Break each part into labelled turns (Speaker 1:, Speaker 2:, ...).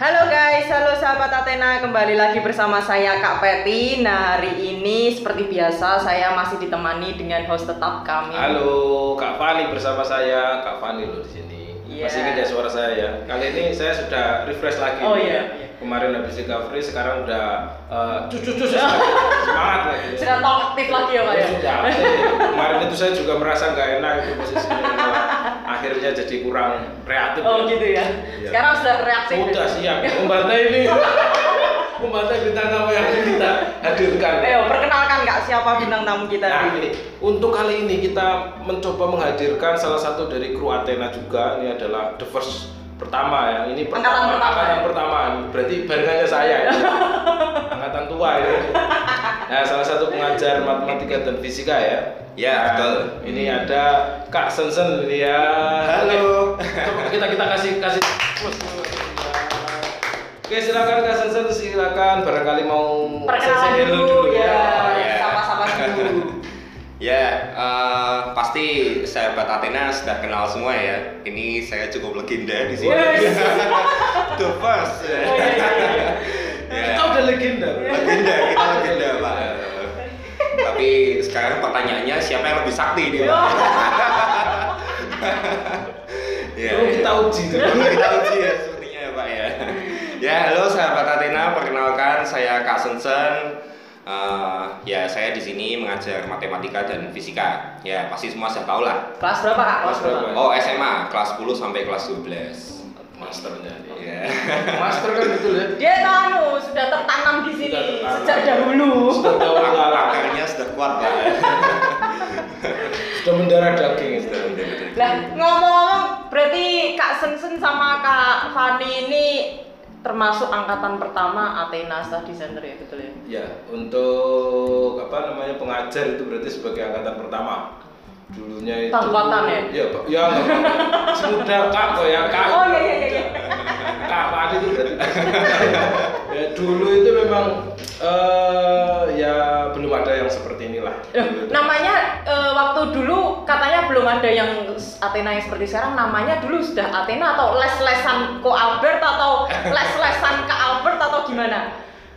Speaker 1: Halo guys, halo sahabat Athena, kembali lagi bersama saya Kak Peti. Nah hari ini seperti biasa saya masih ditemani dengan host tetap kami.
Speaker 2: Halo, Kak Fani bersama saya, Kak Fani loh di sini.
Speaker 1: Iya.
Speaker 2: Masih ingat ya suara saya ya. Kali ini saya sudah refresh lagi.
Speaker 1: Oh, iya,
Speaker 2: nih ya.
Speaker 1: iya.
Speaker 2: Kemarin habis recovery, sekarang udah eh, cus-cus-cus lagi. semangat lagi.
Speaker 1: Sudah aktif lagi ya Pak ya?
Speaker 2: Sudah aktif. Kemarin itu saya juga merasa nggak enak itu posisinya. Malah Akhirnya jadi kurang kreatif.
Speaker 1: Oh
Speaker 2: ya.
Speaker 1: gitu ya.
Speaker 2: Iya.
Speaker 1: Sekarang sudah reaksi.
Speaker 2: Udah siap membantai ini. membantai bintang tamu yang kita hadirkan.
Speaker 1: Ayo Eh, perkenalkan Kak siapa bintang tamu kita hari
Speaker 2: Nah,
Speaker 1: ini.
Speaker 2: ini, untuk kali ini kita mencoba menghadirkan salah satu dari kru Athena juga. Ini adalah the first pertama ya. Ini pertama,
Speaker 1: Angkatan pertama
Speaker 2: angkatan
Speaker 1: ya?
Speaker 2: pertama. Berarti barengannya saya. ini. angkatan tua ya. Nah, salah satu pengajar matematika dan fisika ya.
Speaker 3: Ya,
Speaker 2: Nah,
Speaker 3: betul.
Speaker 2: Ini ada Kak Sensen ini ya.
Speaker 3: Halo.
Speaker 2: Oke, Coba kita kita kasih kasih. Oke, silakan Kak Sensen silakan barangkali mau
Speaker 1: Perkenalan
Speaker 2: say hello
Speaker 1: dulu, ya.
Speaker 3: ya.
Speaker 1: Sapa-sapa dulu.
Speaker 3: Ya, eh, pasti sahabat Athena sudah kenal semua ya. Ini saya cukup legenda di sini.
Speaker 1: Wes.
Speaker 3: The
Speaker 1: Oh,
Speaker 3: first.
Speaker 1: iya, iya, iya.
Speaker 3: Ya,
Speaker 2: Kita udah legenda.
Speaker 3: legenda, kita legenda pak. Tapi sekarang pertanyaannya siapa yang lebih sakti nih
Speaker 1: Oh.
Speaker 3: pak? Ya,
Speaker 1: Oh,
Speaker 2: Perlu
Speaker 3: ya.
Speaker 2: kita uji tuh.
Speaker 3: Perlu kita uji ya sepertinya ya pak ya. Ya, halo sahabat Athena, perkenalkan saya Kak Sensen. Eh, ya saya di sini mengajar matematika dan fisika. Ya pasti semua sudah tahu lah.
Speaker 1: Kelas berapa Kak? Kelas
Speaker 2: Kelas
Speaker 1: berapa?
Speaker 2: berapa?
Speaker 3: Oh SMA kelas 10 sampai kelas 12
Speaker 2: Masternya. dia.
Speaker 3: Ya.
Speaker 2: Master kan gitu ya.
Speaker 1: Dia tanu sudah tertanam di sini
Speaker 2: Sudah tertanam.
Speaker 1: sejak dahulu.
Speaker 2: Sudah tahu lalang,
Speaker 3: Akarnya sudah kuat pak.
Speaker 2: Iya. sudah mendarah daging itu.
Speaker 3: Sudah menjadi-
Speaker 1: Lah ngomong-ngomong berarti Kak Sensen sama Kak Fani ini termasuk angkatan pertama Athena Study Center ya betul ya?
Speaker 2: Ya, untuk apa namanya pengajar itu berarti sebagai angkatan pertama. Dulunya itu
Speaker 1: Tangkatan ya?
Speaker 2: Ya, Pak. ya enggak apa-apa. Sudah Kak kok ya Kak.
Speaker 1: Oh iya iya iya. iya.
Speaker 2: Kak Fadi itu berarti. ya, dulu itu memang eh ya belum ada yang seperti inilah.
Speaker 1: Loh, namanya eh, waktu dulu katanya belum ada yang Athena yang seperti sekarang namanya dulu sudah Athena atau les-lesan Ko Albert atau les-lesan Kak Albert atau gimana?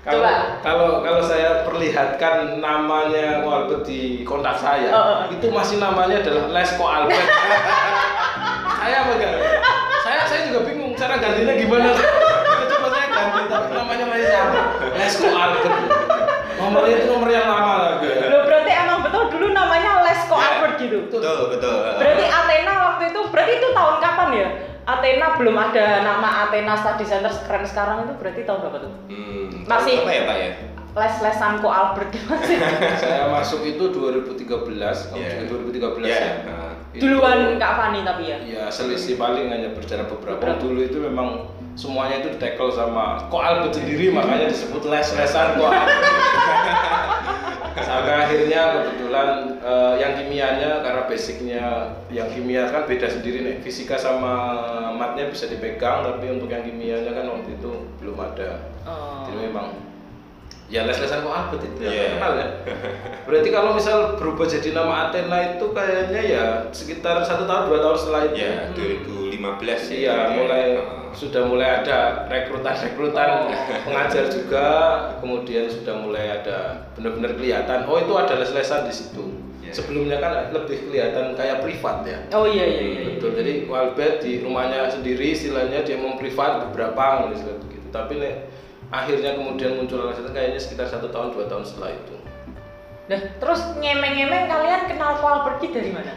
Speaker 2: Kalau
Speaker 1: Coba.
Speaker 2: kalau kalau saya perlihatkan namanya Ko Albert di kontak saya,
Speaker 1: Oh, oh, oh.
Speaker 2: itu masih namanya adalah Les Ko Albert. saya pegang. Saya saya juga bingung cara gantinya gimana. Coba saya ganti tapi namanya masih sama. Les Ko Albert. Nomornya itu nomor yang lama lagi.
Speaker 1: Loh berarti emang betul dulu namanya les Ko Albert gitu.
Speaker 3: Betul betul.
Speaker 1: Berarti Athena waktu itu, berarti itu tahun kapan ya? Athena belum ada nama Athena Study Center sekeren sekarang itu berarti tahun berapa tuh?
Speaker 3: Hmm,
Speaker 1: Masih-
Speaker 3: apa ya pak ya?
Speaker 1: Les-lesan ko Albert itu masih
Speaker 2: Saya masuk itu 2013, kamu
Speaker 3: Iya.
Speaker 2: juga 2013
Speaker 3: Iya.
Speaker 2: ya.
Speaker 3: Nah.
Speaker 2: Itu-
Speaker 1: duluan Kak Fani tapi ya.
Speaker 2: Ya selisih paling hanya berjarak beberapa.
Speaker 1: Beberapa.
Speaker 2: Dulu itu memang semuanya itu ditekel sama kok Albert sendiri makanya disebut les-lesan kok. Sampai akhirnya kebetulan eh, yang kimianya karena basicnya yang kimia kan beda sendiri nih. Fisika sama matnya bisa dipegang tapi untuk yang kimianya kan waktu itu belum ada.
Speaker 1: Oh.
Speaker 2: Jadi memang ya les-lesan kok Albert itu ya
Speaker 3: Iya.
Speaker 2: terkenal ya. Berarti kalau misal berubah jadi nama Athena itu kayaknya ya sekitar satu tahun dua tahun setelah itu.
Speaker 3: Ya 2015 ya.
Speaker 2: Hmm. Iya, mulai
Speaker 3: Nah.
Speaker 2: sudah mulai ada rekrutan-rekrutan pengajar juga, kemudian sudah mulai ada benar-benar kelihatan. Oh itu ada les-lesan di situ.
Speaker 3: Iya.
Speaker 2: Sebelumnya kan lebih kelihatan kayak privat ya.
Speaker 1: Oh iya iya iya.
Speaker 2: Betul. Jadi Walbet di rumahnya sendiri istilahnya dia memprivat beberapa misalnya begitu. Tapi nih, akhirnya kemudian muncul les-lesan kayaknya sekitar satu tahun dua tahun setelah itu.
Speaker 1: Nah, terus nyemeng-nyemeng kalian kenal ko Albert Ki dari mana?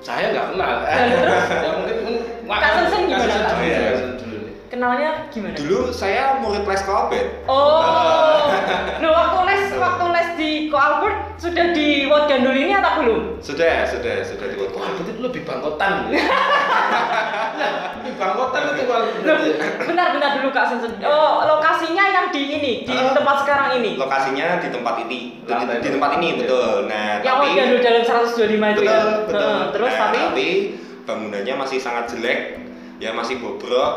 Speaker 2: Saya nggak kenal. ya mungkin
Speaker 1: Kak Sensen gimana, Kak?
Speaker 2: Kak Sensen dulu,
Speaker 3: Iya.
Speaker 2: Kak Sensen dulu nih.
Speaker 1: Kenalnya gimana?
Speaker 3: Dulu saya murid Les Kopet.
Speaker 1: Oh. Loh, waktu les waktu les di ko Albert sudah di Wat Gandul ini atau belum?
Speaker 3: Iya, Sudah sudah sudah di
Speaker 2: Wah, berarti itu lebih bangkotan ya? Nah, lebih bangkotan itu kalau
Speaker 3: iya.
Speaker 1: Loh,
Speaker 2: berarti.
Speaker 1: bentar-bentar dulu Kak Sensen. Oh, lokasinya yang di ini, di
Speaker 3: Ah.
Speaker 1: tempat sekarang ini.
Speaker 3: Lokasinya di tempat ini. Di,
Speaker 2: Lantai
Speaker 3: di
Speaker 2: dua.
Speaker 3: tempat ini betul. Nah
Speaker 1: yang
Speaker 3: tapi
Speaker 1: tapi, Gandul dalam 125 itu
Speaker 2: Iya.
Speaker 1: ya.
Speaker 3: betul betul.
Speaker 1: Heeh, terus
Speaker 3: Nah,
Speaker 1: tapi
Speaker 3: bangunannya masih sangat jelek. Ya masih bobrok.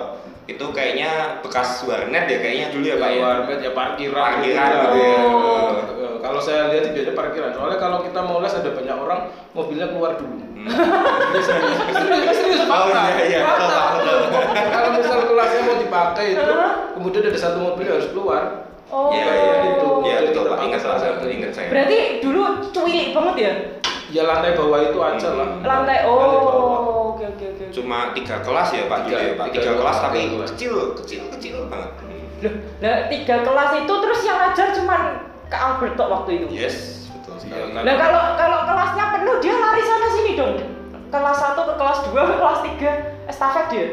Speaker 3: Itu kayaknya bekas warnet ya kayaknya dulu ya pak ya.
Speaker 2: warnet ya parkiran.
Speaker 3: Parkiran
Speaker 2: gitu
Speaker 3: gitu ya.
Speaker 1: Oh.
Speaker 2: Eh, Kalau saya lihat itu aja parkiran. Soalnya kalau kita mau les ada banyak orang mobilnya keluar dulu.
Speaker 3: Hmm.
Speaker 2: Serius, serius, serius,
Speaker 3: Oh,
Speaker 2: fakta.
Speaker 3: iya, iya, betul,
Speaker 2: Oh, Fakta.
Speaker 3: betul,
Speaker 2: Kalau misal kelasnya mau di dipakai itu
Speaker 1: Hah?
Speaker 2: kemudian ada satu mobil yang harus keluar
Speaker 1: Oh.
Speaker 3: Iya, iya,
Speaker 2: itu.
Speaker 3: Iya
Speaker 2: Jadi
Speaker 3: betul
Speaker 2: kita
Speaker 3: Pak, ingat
Speaker 2: pakai
Speaker 3: salah
Speaker 2: sarung.
Speaker 3: satu, ingat saya.
Speaker 1: Berarti dulu cuilik banget ya?
Speaker 2: ya lantai bawah itu aja lah
Speaker 1: Lantai
Speaker 2: Lantai bawah.
Speaker 1: oh. Oke oke oke.
Speaker 3: Cuma tiga kelas ya Pak dulu
Speaker 2: Tiga-
Speaker 3: ya Pak,
Speaker 2: tiga
Speaker 3: tiga kelas
Speaker 2: kelas,
Speaker 3: tapi
Speaker 2: tiga kelas.
Speaker 3: kecil, kecil, kecil banget.
Speaker 1: Loh, Nah, tiga kelas itu terus yang ngajar cuman ke Albert tok waktu
Speaker 3: Iya.
Speaker 1: itu.
Speaker 3: Yes, betul sekali.
Speaker 2: Iya,
Speaker 1: Nah, kalau kalau kelasnya penuh dia lari sana sini dong. Kelas 1 ke kelas 2 ke kelas 3 estafet dia.
Speaker 3: Eh,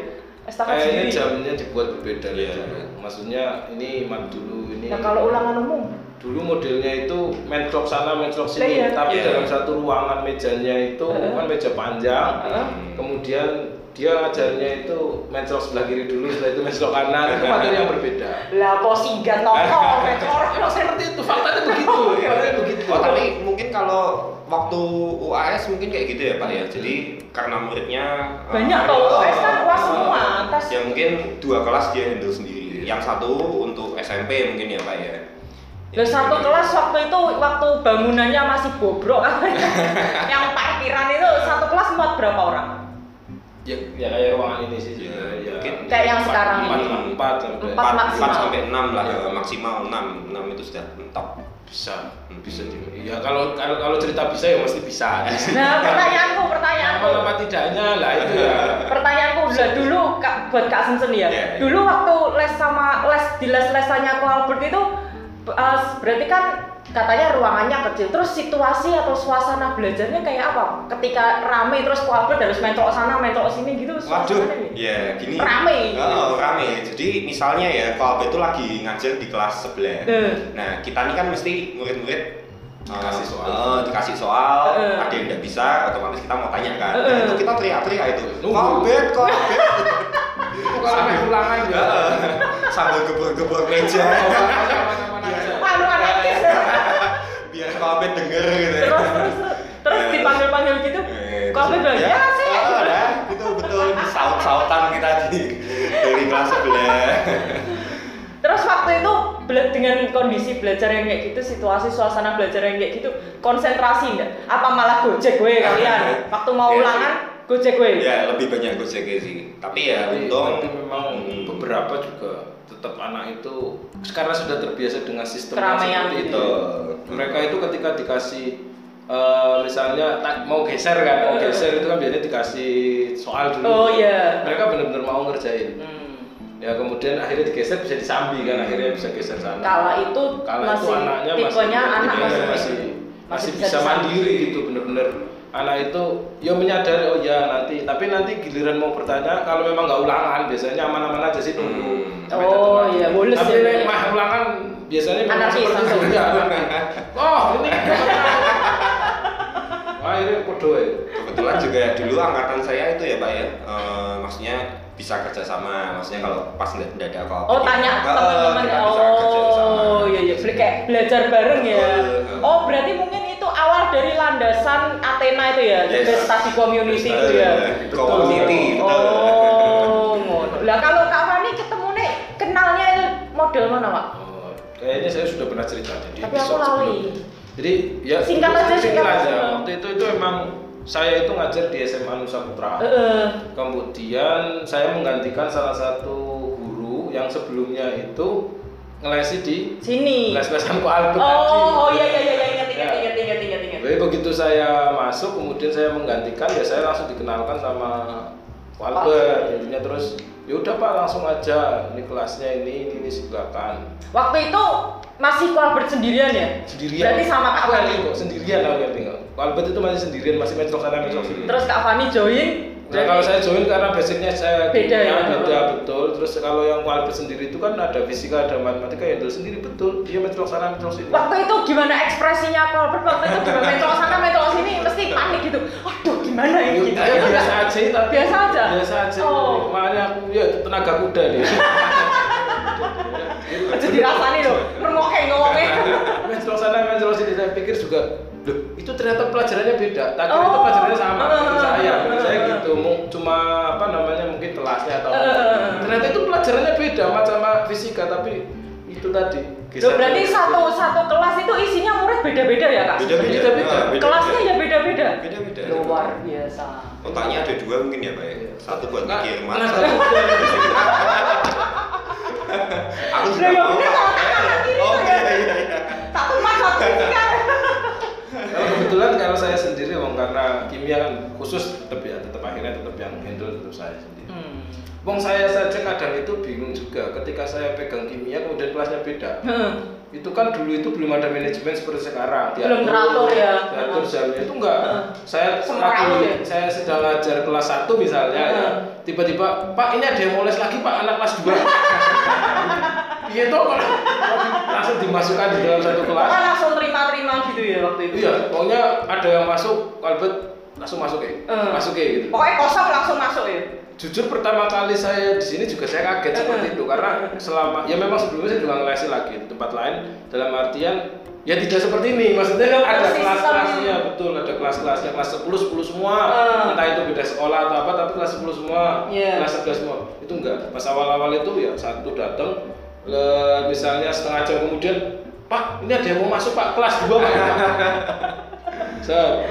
Speaker 1: Estafet
Speaker 2: kayaknya
Speaker 1: sendiri.
Speaker 2: jamnya dibuat berbeda
Speaker 3: Iya.
Speaker 2: ya maksudnya ini mat dulu ini
Speaker 1: Nah, kalau ulangan umum
Speaker 2: dulu modelnya itu mentok sana mentok
Speaker 1: Lah,
Speaker 2: sini
Speaker 1: iya.
Speaker 2: tapi
Speaker 3: Iya.
Speaker 2: dalam satu ruangan mejanya itu
Speaker 1: Heeh.
Speaker 2: kan meja panjang
Speaker 1: Heeh.
Speaker 2: kemudian dia ngajarnya itu mentok sebelah kiri dulu setelah itu mentok kanan itu materi yang berbeda
Speaker 1: lah posigan loko mecor
Speaker 2: emang seperti itu faktanya begitu ya. faktanya begitu
Speaker 3: Oh tapi mungkin kalau waktu UAS mungkin kayak gitu ya Pak ya. Jadi karena muridnya eh,
Speaker 1: Banyak
Speaker 3: ada-
Speaker 1: kalau UAS kan UAS semua, tas.
Speaker 3: Ya mungkin dua kelas dia handle sendiri. Yang satu untuk SMP mungkin ya Pak ya.
Speaker 1: Loh, satu kelas waktu itu waktu bangunannya masih bobrok yang parkiran itu satu kelas muat berapa orang?
Speaker 2: ya, ya kayak ruangan ini sih
Speaker 3: Iya,
Speaker 2: sebenarnya, ya.
Speaker 3: mungkin.
Speaker 1: Kayak yang
Speaker 2: Empat-
Speaker 1: sekarang
Speaker 2: empat
Speaker 3: ini.
Speaker 2: empat sampai
Speaker 1: Empat.
Speaker 3: empat, empat
Speaker 1: maksimal.
Speaker 3: sampai enam lah
Speaker 2: Iya.
Speaker 3: eh, maksimal enam enam itu sudah mentok.
Speaker 2: bisa bisa juga. ya kalau kalau kalau cerita bisa ya mesti bisa
Speaker 1: Nah, pertanyaanku,
Speaker 2: apa
Speaker 1: pertanyaanku.
Speaker 2: apa tidaknya lah itu ya
Speaker 1: Pertanyaanku udah dulu Kak, buat Kak Sensen ya.
Speaker 3: Iya, iya.
Speaker 1: Dulu waktu les sama les di les-lesannya Ko Albert itu eh, berarti kan katanya ruangannya kecil. Terus situasi atau suasana belajarnya kayak apa? Ketika rame terus Ko Albert harus mentok sana, mentok sini gitu
Speaker 3: Waduh,
Speaker 1: suasananya gitu.
Speaker 3: ya gini.
Speaker 1: Rame.
Speaker 3: Oh, rame. Jadi misalnya ya, kalau Abah itu lagi ngajar di kelas sebelah.
Speaker 1: Eh.
Speaker 3: Nah, kita ini kan mesti murid-murid eh,
Speaker 2: Dikasih soal.
Speaker 3: eh, dikasih soal,
Speaker 1: Eh.
Speaker 3: ada yang nggak bisa, otomatis kita mau tanya kan. Nah,
Speaker 1: Eh.
Speaker 3: itu kita teriak-teriak itu.
Speaker 2: Nunggu.
Speaker 3: Kalbet, kalbet.
Speaker 2: kalau ada ulangan ya
Speaker 3: Sambil gebur-gebur meja
Speaker 2: Mana-mana aja.
Speaker 1: Malu
Speaker 3: Iya,
Speaker 1: anakis.
Speaker 3: biar kalbet denger gitu.
Speaker 1: terus terus terus
Speaker 3: Eh.
Speaker 1: dipanggil-panggil gitu.
Speaker 3: Eh,
Speaker 1: Ko Albert bilang, "Ya, sih."
Speaker 3: eh, udah, itu betul disaut-sautan kita di dari kelas sebelah.
Speaker 1: Terus waktu itu bela- dengan kondisi belajar yang kayak gitu, situasi suasana belajar yang kayak gitu, konsentrasi enggak? Apa malah gojek gue kalian? Waktu mau
Speaker 3: Iya sih.
Speaker 1: ulangan, gojek gue.
Speaker 3: ya lebih banyak gojek sih
Speaker 1: Iya,
Speaker 3: tapi ya
Speaker 2: Tapi-
Speaker 3: untung
Speaker 2: tapi memang
Speaker 3: hmm,
Speaker 2: beberapa juga tetap anak itu karena sudah terbiasa dengan sistem yang
Speaker 1: Keramaian
Speaker 2: seperti
Speaker 1: gitu
Speaker 2: itu
Speaker 3: ya.
Speaker 2: mereka itu ketika dikasih eh, misalnya ta- mau geser kan mau geser itu kan biasanya dikasih soal dulu
Speaker 1: Iya. Oh, iya.
Speaker 2: mereka benar-benar mau ngerjain
Speaker 1: Hmm.
Speaker 2: ya kemudian akhirnya digeser bisa disambi kan akhirnya bisa geser sana
Speaker 1: Kala itu
Speaker 2: kalau itu
Speaker 1: masih
Speaker 2: anaknya
Speaker 1: tipenya
Speaker 2: masih,
Speaker 1: anak
Speaker 2: tipenya
Speaker 1: masih,
Speaker 2: masih, masih bisa,
Speaker 1: disambung.
Speaker 2: mandiri gitu bener-bener anak itu ya menyadari oh ya nanti tapi nanti giliran mau bertanya kalau memang nggak ulangan biasanya aman-aman aja sih nunggu
Speaker 3: Hmm.
Speaker 2: Sampai
Speaker 1: Oh,
Speaker 2: tetap aja.
Speaker 1: iya, bolos
Speaker 2: tapi
Speaker 1: ya.
Speaker 2: nek mah ulangan biasanya memang
Speaker 1: Anarkis
Speaker 2: seperti itu
Speaker 1: langsung.
Speaker 2: ya anarkis. oh ini wah ini podo ya
Speaker 3: kebetulan juga dulu angkatan saya itu ya pak ya eh, maksudnya bisa kerjasama maksudnya kalau pas nggak nggak ada apa
Speaker 1: Oh tanya
Speaker 3: Iya.
Speaker 1: teman-teman oh iya iya Beli- kayak belajar bareng ya.
Speaker 3: Betul.
Speaker 1: Oh berarti mungkin itu awal dari landasan Athena itu ya,
Speaker 3: Yes.
Speaker 1: yes. study community itu ya.
Speaker 2: Betul.
Speaker 3: community betul
Speaker 1: Oh ngono. Lah kalau Kak Fani ketemu nih kenalnya itu model mana Pak?
Speaker 2: Oh, kayaknya saya sudah pernah cerita jadi
Speaker 1: Tapi aku
Speaker 2: episode
Speaker 1: lali.
Speaker 2: sebelumnya. jadi ya
Speaker 1: Singkat aja,
Speaker 2: singkat
Speaker 1: singkat
Speaker 2: aja.
Speaker 1: aja.
Speaker 2: waktu itu itu emang saya itu ngajar di SMA Nusa Putra
Speaker 1: Heeh.
Speaker 2: Kemudian saya menggantikan salah satu guru yang sebelumnya itu ngelesi di
Speaker 1: sini.
Speaker 2: les-lesan ku Aldo tadi.
Speaker 1: Oh, oh iya iya iya iya ingat ingat
Speaker 2: Ya.
Speaker 1: ingat ingat ingat ingat.
Speaker 2: Jadi begitu saya masuk, kemudian saya menggantikan, ya saya langsung dikenalkan sama Ku Albert. Intinya terus, ya udah Pak langsung aja, ini kelasnya ini, ini, ini silakan.
Speaker 1: Waktu itu masih Albert sendirian ya?
Speaker 2: Sendirian.
Speaker 1: Berarti sama Kak
Speaker 2: Aku yang
Speaker 1: Fani.
Speaker 2: tinggal, sendirian aku yang tinggal. Ku Albert itu masih sendirian, masih mencok sana mencok sini.
Speaker 1: Hmm. Terus Kak Fani join.
Speaker 2: Nah, kalau saya join karena basicnya saya
Speaker 1: Beda ya?
Speaker 2: kimia, beda, betul. Terus kalau yang Walbert sendiri itu kan ada fisika, ada matematika, ya itu sendiri betul. Dia metode sana, metode sini.
Speaker 1: Waktu itu gimana ekspresinya Albert? Waktu itu gimana metro sana metro sini mesti panik gitu. Waduh gimana
Speaker 2: Ya,
Speaker 1: ini gitu.
Speaker 2: ya, biasa aja, tapi
Speaker 1: Biasa aja?
Speaker 2: Biasa aja.
Speaker 1: Oh.
Speaker 2: Makanya aku ya tenaga kuda dia.
Speaker 1: Aja dirasani loh, merengokek ngomongnya.
Speaker 2: Nah, metode sana, metode sini. Saya pikir juga, loh itu ternyata pelajarannya beda. Tadi itu
Speaker 1: Oh.
Speaker 2: pelajarannya sama. Menurut saya, menurut saya
Speaker 1: Eh.
Speaker 2: gitu. Mu- Cuma apa namanya mungkin kelasnya atau apa.
Speaker 1: Eh.
Speaker 2: ternyata itu pelajarannya beda sama fisika, tapi itu tadi.
Speaker 1: Loh, berarti
Speaker 2: geser.
Speaker 1: satu satu kelas itu isinya murid beda-beda ya Kak?
Speaker 3: beda beda
Speaker 2: Beda-beda.
Speaker 1: Kelasnya ya beda-beda.
Speaker 3: beda beda
Speaker 1: Luar biasa.
Speaker 3: otaknya ada dua mungkin ya pak ya satu buat
Speaker 2: Nah,
Speaker 3: mikir
Speaker 2: tenaga
Speaker 3: masa
Speaker 2: kuda.
Speaker 3: aku
Speaker 1: Lah,
Speaker 3: sudah
Speaker 1: ya
Speaker 3: mau
Speaker 1: bener,
Speaker 3: Pak.
Speaker 1: salah tangan ini,
Speaker 3: Oh iya
Speaker 1: Pak.
Speaker 3: iya iya.
Speaker 1: Satu mas ya. satu fisika.
Speaker 2: Kalau kebetulan kalau saya sendiri Wong karena kimia kan khusus tetap ya tetap akhirnya tetap yang handle tetap saya sendiri.
Speaker 1: Hmm.
Speaker 2: Wong saya saja kadang itu bingung juga ketika saya pegang kimia kemudian kelasnya beda.
Speaker 1: Hmm.
Speaker 2: Itu kan dulu itu belum ada manajemen seperti sekarang.
Speaker 1: Belum teratur ya.
Speaker 2: Diatur jamnya itu enggak.
Speaker 1: Heeh.
Speaker 2: Saya
Speaker 1: Semua
Speaker 2: lagi
Speaker 1: tahu ya. Hmm.
Speaker 2: saya sedang ngajar kelas 1 misalnya ya.
Speaker 1: Heeh.
Speaker 2: Tiba-tiba, "Pak, ini ada yang mau les lagi, Pak, anak kelas 2." Iya toh kalau langsung dimasukkan di dalam satu kelas.
Speaker 1: Kita langsung terima-terima gitu ya waktu itu.
Speaker 2: Iya, pokoknya ada yang masuk, Albert langsung masuk ya,
Speaker 1: Eh.
Speaker 2: masuk ya gitu.
Speaker 1: Pokoknya kosong langsung masuk ya.
Speaker 2: Jujur pertama kali saya di sini juga saya kaget seperti itu karena selama ya memang sebelumnya saya juga ngelesi lagi di tempat lain dalam artian ya tidak seperti ini maksudnya kan ada
Speaker 1: Sistem.
Speaker 2: kelas-kelasnya betul ada kelas-kelasnya kelas 10 10 semua
Speaker 1: Eh.
Speaker 2: entah itu beda sekolah atau apa tapi kelas 10 semua
Speaker 1: Iya.
Speaker 2: kelas 11 semua itu enggak pas awal-awal itu ya satu datang le- misalnya setengah jam kemudian Pak ini ada yang mau masuk Pak kelas 2 Pak So,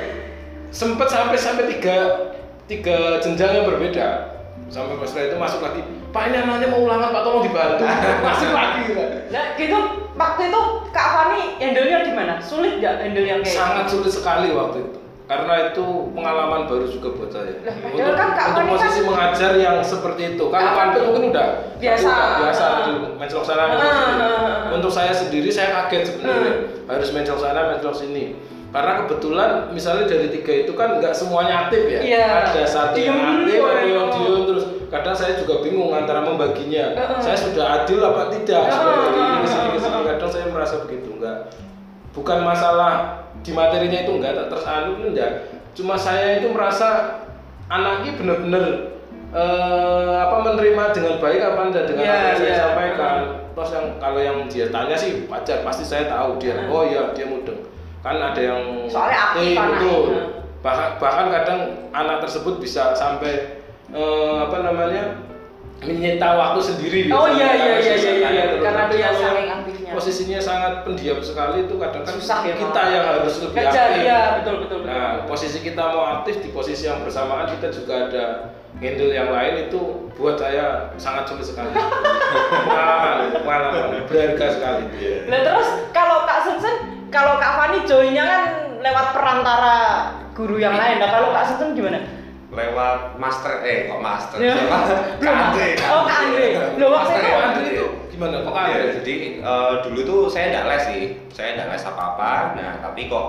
Speaker 2: sempat sampai sampai tiga tiga jenjang yang berbeda sampai pas setelah itu masuk lagi pak ini anaknya mau ulangan pak tolong dibantu masuk lagi Pak.
Speaker 1: Nah, gitu waktu itu Kak Fani handle-nya gimana? Sulit nggak handle yang kayak gitu?
Speaker 2: sangat sulit sekali waktu itu karena itu pengalaman baru juga buat saya
Speaker 1: Lah, padahal kan Kak
Speaker 2: untuk
Speaker 1: Fani
Speaker 2: posisi
Speaker 1: kan-
Speaker 2: mengajar yang seperti itu kalau
Speaker 1: Kak
Speaker 2: kampus
Speaker 1: Fani-
Speaker 2: mungkin udah
Speaker 1: Biasa.
Speaker 2: udah biasa
Speaker 1: Ah.
Speaker 2: dulu mencelok sana
Speaker 1: Ah,
Speaker 2: mencelok sini
Speaker 1: ah, ah.
Speaker 2: untuk saya sendiri saya kaget sebenarnya
Speaker 1: Ah.
Speaker 2: harus mencelok sana mencelok sini karena kebetulan misalnya dari tiga itu kan nggak semuanya aktif ya
Speaker 1: Iya.
Speaker 2: ada satu yang
Speaker 1: Diem
Speaker 2: aktif
Speaker 1: dulu,
Speaker 2: ada yang
Speaker 1: ayo.
Speaker 2: diem terus kadang saya juga bingung antara membaginya
Speaker 1: Ah, ah.
Speaker 2: saya sudah adil apa tidak
Speaker 1: Ah,
Speaker 2: sudah
Speaker 1: ah,
Speaker 2: ini
Speaker 1: ah,
Speaker 2: kesini
Speaker 1: ah,
Speaker 2: kesini
Speaker 1: ah.
Speaker 2: kadang saya merasa begitu enggak bukan masalah di materinya itu enggak tak tersanung itu enggak cuma saya itu merasa anaknya benar-benar eh, apa menerima dengan baik apa enggak dengan
Speaker 1: Iya,
Speaker 2: apa yang saya
Speaker 1: iya.
Speaker 2: sampaikan terus yang kalau yang dia tanya sih wajar pasti saya tahu dia
Speaker 1: Hmm.
Speaker 2: oh iya dia mudeng kan ada yang
Speaker 1: Soalnya aktif
Speaker 2: Eh,
Speaker 1: anaknya.
Speaker 2: betul.
Speaker 1: Hmm.
Speaker 2: bahkan bahkan kadang anak tersebut bisa sampai eh, apa namanya menyita waktu sendiri
Speaker 1: Oh,
Speaker 2: biasanya,
Speaker 1: iya, iya,
Speaker 2: karena
Speaker 1: iya,
Speaker 2: susah
Speaker 1: iya,
Speaker 2: tanya
Speaker 1: iya.
Speaker 2: terus.
Speaker 1: Karena
Speaker 2: Tapi
Speaker 1: dia
Speaker 2: kalau yang
Speaker 1: saking aktifnya.
Speaker 2: posisinya sangat pendiam sekali itu kadang kan
Speaker 1: Susah ya,
Speaker 2: kita
Speaker 1: malah.
Speaker 2: yang harus lebih
Speaker 1: Ngejar,
Speaker 2: aktif
Speaker 1: iya, betul, betul, betul.
Speaker 2: nah posisi kita mau aktif di posisi yang bersamaan kita juga ada handle yang lain itu buat saya sangat sulit sekali pengalaman pengalaman berharga sekali
Speaker 1: Nah terus kalau Kak Sensen, kalau Kak Fani joinnya kan lewat perantara guru yang lain. Nah kalau Kak Sensen gimana?
Speaker 3: Lewat master eh kok master.
Speaker 1: Ya.
Speaker 3: Siapa?
Speaker 1: Belum,
Speaker 3: Kak Andre.
Speaker 1: Mas. Oh, Kak Andre. Loh, waktu
Speaker 3: Master
Speaker 1: itu
Speaker 2: Kok
Speaker 3: ya,
Speaker 1: Kak
Speaker 2: Andri itu gimana kok
Speaker 3: Iya,
Speaker 2: Andri
Speaker 3: jadi eh, dulu tuh saya enggak les sih. Saya enggak les apa-apa. Nah, tapi kok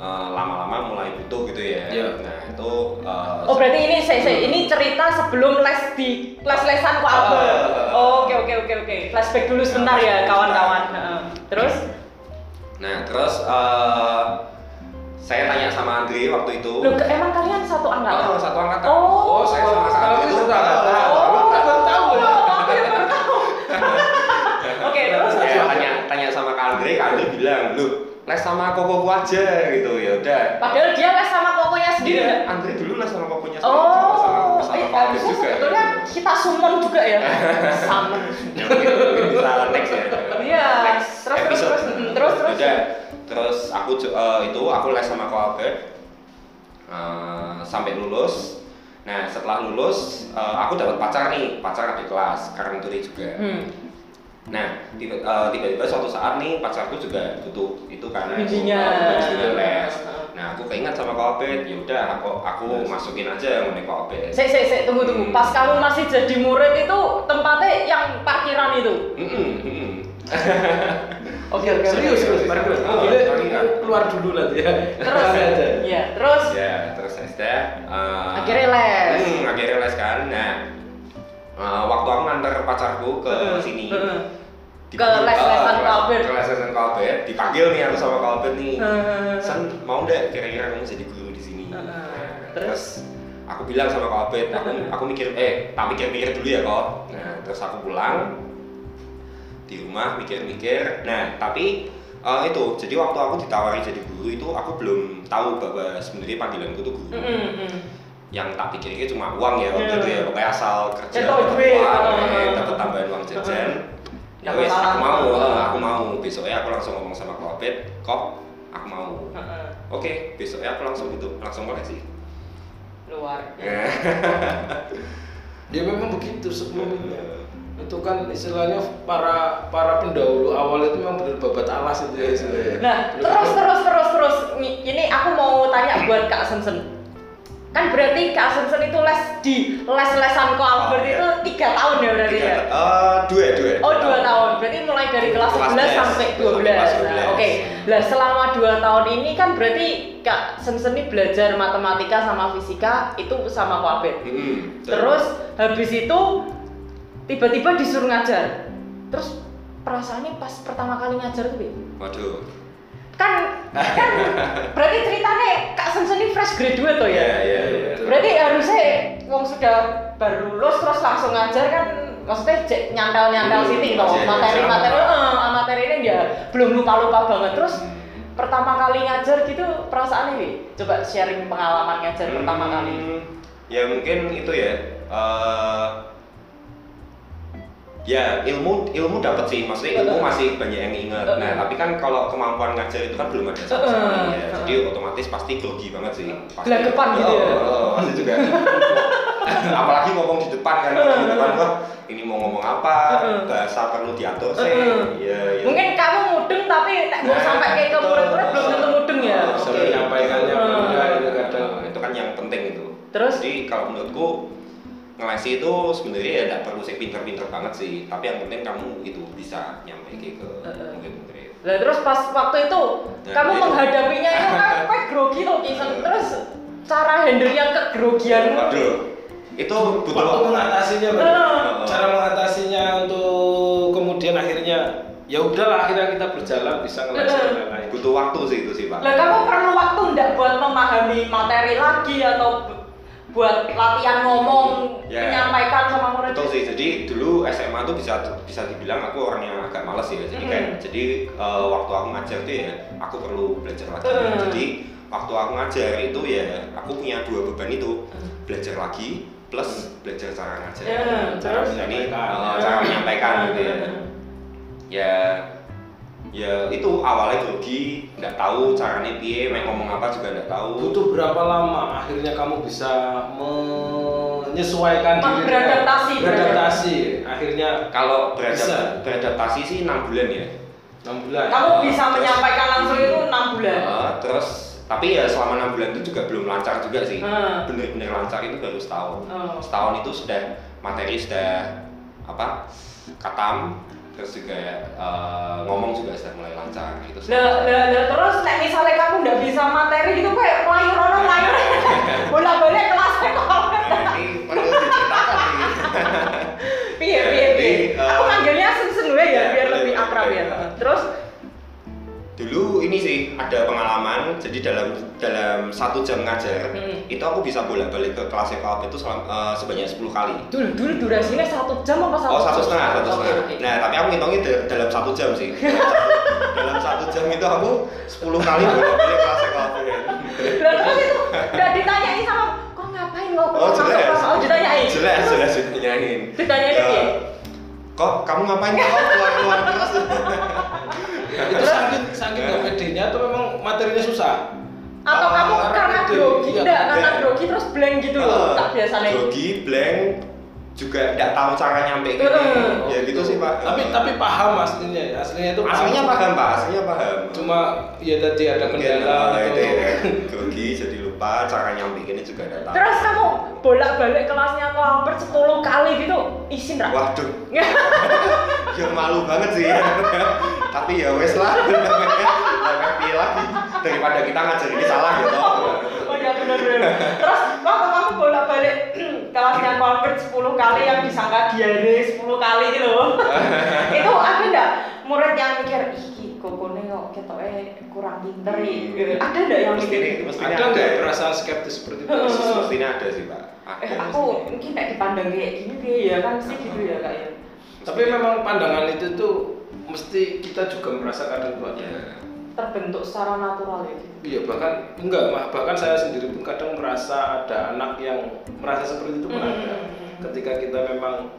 Speaker 3: eh, lama-lama mulai butuh gitu ya.
Speaker 2: Iya.
Speaker 3: Nah, itu eh,
Speaker 1: Oh berarti ini saya, saya- ini cerita sebelum les di les lesan ku Albert.
Speaker 3: Ah.
Speaker 1: Oh, Oke oke oke oke. Flashback dulu sebentar ya
Speaker 3: Flashback
Speaker 1: kawan-kawan.
Speaker 3: sebentar.
Speaker 1: Heeh. Terus?
Speaker 3: Nah, terus eh, saya tanya sama Andre waktu itu.
Speaker 1: Loh ke- emang kalian satu
Speaker 3: Oh,
Speaker 1: angkatan?
Speaker 3: satu angkatan.
Speaker 1: Oh.
Speaker 3: saya sama
Speaker 2: Kalau
Speaker 3: Andre
Speaker 2: itu
Speaker 3: itu
Speaker 2: satu angkatan.
Speaker 3: Oh.
Speaker 2: Aku baru tahu ya.
Speaker 1: Oh, aku yang baru tahu. Oke terus.
Speaker 3: Saya Iya, tanya tanya sama Kak Andre, Kak Andre bilang, "Lu les sama kokoku aja gitu." Ya udah.
Speaker 1: Padahal dia les sama kokonya sendiri.
Speaker 3: Iya,
Speaker 1: nggak?
Speaker 3: Andre dulu lah sama kokonya sama sama-
Speaker 1: Oh,
Speaker 3: sama,
Speaker 1: eh,
Speaker 3: Pak Alif
Speaker 1: harusnya
Speaker 3: juga.
Speaker 1: sebetulnya kita summon juga ya. summon.
Speaker 3: Ya, mungkin- mungkin bisa next ya.
Speaker 1: Iya,
Speaker 3: Next
Speaker 1: terus, terus,
Speaker 3: episode.
Speaker 1: terus, mm, terus, terus.
Speaker 3: Udah. Terus aku ju- eh, itu aku les sama Ko Albert eh, sampai lulus. Nah, setelah lulus eh, aku dapat pacar nih, pacar di kelas, karena itu juga.
Speaker 1: Hmm.
Speaker 3: Nah, tiba- eh, tiba-tiba suatu saat nih pacarku juga butuh itu karena
Speaker 1: Bimbingan.
Speaker 3: bimbingan gitu, les. Nah, aku keinget sama Ko Albert, ya udah aku aku masukin aja yang Ko Albert.
Speaker 1: Sik, sik, sik, tunggu, tunggu. Pas kamu masih jadi murid itu tempatnya yang parkiran itu.
Speaker 3: Mm-mm, mm-mm.
Speaker 2: Oke, oke. serius, serius, mari dulu.
Speaker 3: Oh,
Speaker 2: Gile,
Speaker 3: mari, Kak.
Speaker 2: keluar dulu nanti ya.
Speaker 1: Terus,
Speaker 2: Santai aja.
Speaker 1: ya, terus
Speaker 3: Ya, terus SD. eh,
Speaker 1: akhirnya les.
Speaker 3: Hmm, akhirnya les kan. Nah, eh, waktu aku nganter pacarku ke
Speaker 1: Heeh,
Speaker 3: sini.
Speaker 1: heeh. Ke
Speaker 3: dipanggil-
Speaker 1: les-lesan
Speaker 3: eh, ke les-
Speaker 1: Kalbert.
Speaker 3: Ke les-lesan Kalbert. Dipanggil nih aku sama Kalbert nih.
Speaker 1: Heeh.
Speaker 3: Sen, mau nggak kira-kira kamu jadi guru di sini?
Speaker 1: Heeh.
Speaker 3: Nah,
Speaker 1: Terus?
Speaker 3: terus aku bilang sama Kalbert, aku aku mikir eh tak pikir-pikir dulu ya kok. Nah, terus aku pulang di rumah mikir-mikir. Nah, tapi eh, itu jadi waktu aku ditawari jadi guru itu aku belum tahu bahwa sebenarnya panggilanku tuh guru
Speaker 1: Mm, mm, mm.
Speaker 3: yang tak pikirin cuma uang ya waktu
Speaker 1: Iya.
Speaker 3: itu ya pokoknya asal kerja
Speaker 1: Cetok
Speaker 3: dapat
Speaker 1: duit.
Speaker 3: uang,
Speaker 1: Heeh.
Speaker 3: eh, dapat tambahan uang jajan ya
Speaker 1: Dapat
Speaker 3: wes aku
Speaker 1: salam.
Speaker 3: mau eh, aku mau besoknya aku langsung ngomong sama kopet kop aku mau
Speaker 1: Heeh.
Speaker 3: oke besoknya aku langsung itu langsung koleksi
Speaker 1: Luar.
Speaker 3: Iya.
Speaker 2: Ya, Dia memang begitu sebelumnya. itu kan istilahnya para para pendahulu awal itu memang benar babat alas itu ya istilahnya.
Speaker 1: Nah,
Speaker 2: Bener-bener.
Speaker 1: terus terus terus terus Ni- ini aku mau tanya buat Kak Sensen. Kan berarti Kak Sensen itu les di les-lesan ko Albert
Speaker 3: Oh, iya.
Speaker 1: itu tiga tahun ya berarti
Speaker 3: Tiga
Speaker 1: ya.
Speaker 3: ta- eh, dua dua. Iya.
Speaker 1: Oh dua tahun, berarti mulai dari kelas
Speaker 3: Kelas
Speaker 1: 11
Speaker 3: 11,
Speaker 1: sampai 12
Speaker 3: kelas
Speaker 1: Nah,
Speaker 3: 12.
Speaker 1: Oke, lah selama dua tahun ini kan berarti Kak Sensen ini belajar matematika sama fisika itu sama Ko Albert
Speaker 3: Mm-mm, betul.
Speaker 1: Terus habis itu tiba-tiba disuruh ngajar. Terus perasaannya pas pertama kali ngajar tuh Bi?
Speaker 3: Waduh.
Speaker 1: kan kan berarti ceritanya Kak Sensen ini fresh graduate toh
Speaker 3: Iya
Speaker 1: ya.
Speaker 3: iya iya.
Speaker 1: Berarti harusnya wong sudah baru lulus terus langsung ngajar kan maksudnya jek nyantel-nyantel
Speaker 3: Hmm,
Speaker 1: sithik toh.
Speaker 3: iya, iya,
Speaker 1: Materi-materi
Speaker 3: sama.
Speaker 1: eh, materinya ya belum lupa-lupa banget terus pertama kali ngajar gitu perasaannya Bi? coba sharing pengalaman ngajar pertama
Speaker 3: Hmm,
Speaker 1: kali.
Speaker 3: Ya mungkin itu ya. eh, ya ilmu ilmu dapat sih, maksudnya ilmu
Speaker 1: Heeh.
Speaker 3: masih banyak yang ingat.
Speaker 1: Heeh.
Speaker 3: Nah tapi kan kalau kemampuan ngajar itu kan belum ada sama
Speaker 1: Heeh.
Speaker 3: sekali. ya. Jadi otomatis pasti grogi banget sih. Pasti.
Speaker 1: Gelagapan gitu ya?
Speaker 3: Oh, oh, pasti juga. Apalagi ngomong di depan kan, ngomong di depan wah ini mau ngomong apa,
Speaker 1: Heeh.
Speaker 3: bahasa perlu diatur sih.
Speaker 1: Heeh.
Speaker 3: Iya, iya.
Speaker 1: Mungkin kamu mudeng tapi tak mau
Speaker 3: Nah,
Speaker 1: sampai kayak ke
Speaker 3: betul.
Speaker 1: murid-murid belum tentu mudeng ya.
Speaker 2: Bisa
Speaker 1: Oke.
Speaker 2: menyampaikannya
Speaker 1: Hmm.
Speaker 2: beda itu kadang.
Speaker 3: Nah, ya, itu kan yang penting itu.
Speaker 1: Terus?
Speaker 3: Jadi kalau menurutku ngelesi itu sebenarnya ya nggak perlu sih pinter-pinter banget sih, tapi yang penting kamu itu bisa nyampe ke
Speaker 1: Heeh.
Speaker 3: murid-murid.
Speaker 1: Lah terus pas waktu itu
Speaker 3: Nah,
Speaker 1: kamu
Speaker 3: itu.
Speaker 1: menghadapinya itu kan kowe grogi tuh Kisen. Terus cara handle yang kegrogian
Speaker 3: Waduh, itu butuh
Speaker 2: Waktu mengatasinya, Bang.
Speaker 1: Heeh.
Speaker 2: cara mengatasinya untuk kemudian akhirnya ya udahlah akhirnya kita berjalan bisa ngelaksanain
Speaker 1: Heeh.
Speaker 2: dan lain-lain.
Speaker 3: butuh waktu sih itu sih pak.
Speaker 1: Lah kamu perlu waktu ndak buat memahami materi lagi atau bu- buat latihan ngomong
Speaker 3: Ya.
Speaker 1: menyampaikan sama murid.
Speaker 3: Betul sih. Jadi dulu SMA tuh bisa bisa dibilang aku orang yang agak males ya. Jadi kan
Speaker 1: Mm-mm.
Speaker 3: jadi eh, waktu aku ngajar tuh ya aku perlu belajar lagi.
Speaker 1: Mm.
Speaker 3: Jadi waktu aku ngajar itu ya aku punya dua beban itu belajar lagi plus belajar cara ngajar.
Speaker 1: Mm.
Speaker 3: Cara
Speaker 1: Terus?
Speaker 3: jadi
Speaker 2: Menyampaikan.
Speaker 3: eh, cara menyampaikan gitu ya. Ya ya itu awalnya grogi, nggak tahu caranya piye, main ngomong apa juga nggak tahu.
Speaker 2: Butuh berapa lama akhirnya kamu bisa menyesuaikan
Speaker 1: Ma-
Speaker 2: diri
Speaker 1: beradaptasi,
Speaker 2: beradaptasi akhirnya
Speaker 3: Kalau
Speaker 2: Bisa.
Speaker 3: beradap- beradaptasi sih enam bulan ya.
Speaker 2: 6 bulan
Speaker 1: Kamu bisa
Speaker 3: Terus.
Speaker 1: menyampaikan langsung itu 6 bulan.
Speaker 3: Eh, terus tapi ya selama enam bulan itu juga belum lancar juga sih.
Speaker 1: Hmm.
Speaker 3: Bener-bener lancar itu baru setahun.
Speaker 1: Oh.
Speaker 3: Setahun itu sudah materi sudah apa katam terus juga eh, ngomong juga sudah mulai lancar gitu. sih.
Speaker 1: Lah, lah, lah, terus nek misalnya kamu ndak bisa materi gitu, itu kowe melayu rono melayu. Bolak-balik kelas kok.
Speaker 3: Nah, ini perlu diceritakan nih.
Speaker 1: Piye piye
Speaker 3: Jadi,
Speaker 1: piye.
Speaker 3: eh,
Speaker 1: Aku manggilnya Sensen wae
Speaker 3: ya,
Speaker 1: ya biar
Speaker 3: boleh,
Speaker 1: lebih
Speaker 3: boleh,
Speaker 1: akrab ya.
Speaker 3: boleh.
Speaker 1: Terus
Speaker 3: Dulu ini sih ada pengalaman, jadi dalam dalam satu jam ngajar
Speaker 1: Hmm.
Speaker 3: itu aku bisa bolak-balik ke kelas FAP itu selama, eh, sebanyak 10 kali.
Speaker 1: dul dul durasinya satu jam apa satu?
Speaker 3: Oh satu setengah, satu
Speaker 1: Oke,
Speaker 3: setengah.
Speaker 1: oke.
Speaker 3: Nah tapi aku ngitungnya da- dalam satu jam sih. Dalam satu- dalam satu jam itu aku 10 kali bolak balik kelas ekologi.
Speaker 1: Lah, terus itu udah ditanyain sama kok ngapain lo?
Speaker 3: Oh jelas.
Speaker 1: Oh ditanyain.
Speaker 3: Jelas
Speaker 1: Terus
Speaker 3: jelas ditanyain.
Speaker 1: Ditanyain
Speaker 3: Ya,
Speaker 1: lagi.
Speaker 3: Kok kamu ngapain kok keluar keluar terus?
Speaker 2: itu sakit sakit nggak pedenya atau memang materinya susah
Speaker 1: Atau kamu
Speaker 3: Ah,
Speaker 2: karena
Speaker 1: karena
Speaker 2: itu,
Speaker 1: grogi,
Speaker 2: iya,
Speaker 1: enggak karena
Speaker 3: blank.
Speaker 1: grogi terus blank gitu loh, tak biasanya.
Speaker 3: Ah, Jogi, blank juga nggak tahu cara nyampe gini.
Speaker 1: Heeh.
Speaker 3: Ya gitu sih pak.
Speaker 2: tapi tapi paham aslinya ya aslinya itu paham.
Speaker 3: aslinya paham pak, aslinya paham.
Speaker 2: cuma ya tadi ada gitu.
Speaker 3: Mungkin,
Speaker 2: kendala
Speaker 3: eh,
Speaker 2: atau
Speaker 3: itu ya. Jogi jadi lupa cara nyampe gini juga nggak tahu.
Speaker 1: Terus kamu bolak-balik kelasnya kok hampir 10 kali gitu, izin ra?
Speaker 3: Waduh, ya malu banget sih tapi ya wes lah namanya piye lagi daripada kita ngajar ini salah gitu
Speaker 1: Oh iya bener bener. Terus waktu kamu bolak balik kelasnya Colbert 10 kali yang disangka diare 10 kali gitu loh. itu ada ndak murid yang mikir ih kokone kok ketoke kurang pinter ya?" gitu. Ada ndak yang
Speaker 3: Hmm, mesti ini
Speaker 1: mikir? "Eh,
Speaker 3: mesti
Speaker 2: ada nggak perasaan skeptis seperti itu
Speaker 3: mesti ada sih pak
Speaker 1: Eh
Speaker 3: ada
Speaker 1: aku mungkin ndak dipandang kayak gini deh ya kan sih gitu ya kayaknya.
Speaker 2: tapi memang pandangan itu tuh mesti kita juga merasa kadang tuh ada
Speaker 3: Ya.
Speaker 1: Terbentuk secara natural ya gitu.
Speaker 2: Iya bahkan enggak mah bahkan saya sendiri pun kadang merasa ada anak yang merasa seperti itu pun
Speaker 1: Hmm.
Speaker 2: ada. Ketika kita memang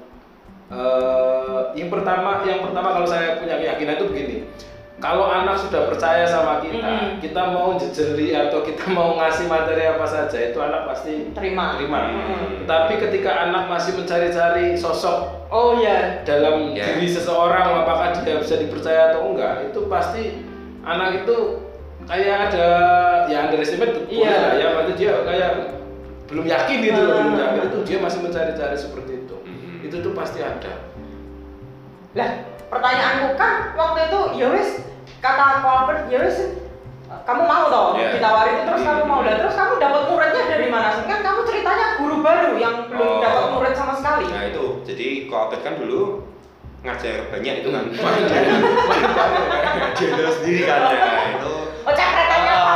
Speaker 2: eh, yang pertama yang pertama kalau saya punya keyakinan itu begini. kalau anak sudah percaya sama kita,
Speaker 1: Mm-mm.
Speaker 2: kita mau jejeli atau kita mau ngasih materi apa saja itu anak pasti
Speaker 1: terima Hmm.
Speaker 2: terima.
Speaker 3: Mm.
Speaker 2: Tapi ketika anak masih mencari-cari sosok
Speaker 1: oh iya
Speaker 2: dalam
Speaker 3: Ya.
Speaker 2: diri seseorang apakah dia bisa dipercaya atau enggak itu pasti anak itu kayak ada ya underestimate boleh
Speaker 1: Iya.
Speaker 2: lah ya berarti dia kayak belum yakin gitu loh
Speaker 1: Ah.
Speaker 2: belum yakin itu dia masih mencari-cari seperti itu
Speaker 3: Mhm.
Speaker 2: itu tuh pasti ada
Speaker 1: Lah, pertanyaanku kan waktu itu ya wis kata Ko Albert ya wis kamu mau toh
Speaker 3: Iya.
Speaker 1: ditawari itu terus
Speaker 3: Hmm.
Speaker 1: kamu mau lah terus kamu dapat muridnya dari mana sih kan kamu ceritanya guru baru yang belum
Speaker 3: Oh.
Speaker 1: dapat murid sama sekali
Speaker 3: Nah itu, jadi koopet kan dulu ngajar banyak itu kan. Dia harus sendiri kan ya. Itu
Speaker 1: oh cakretannya apa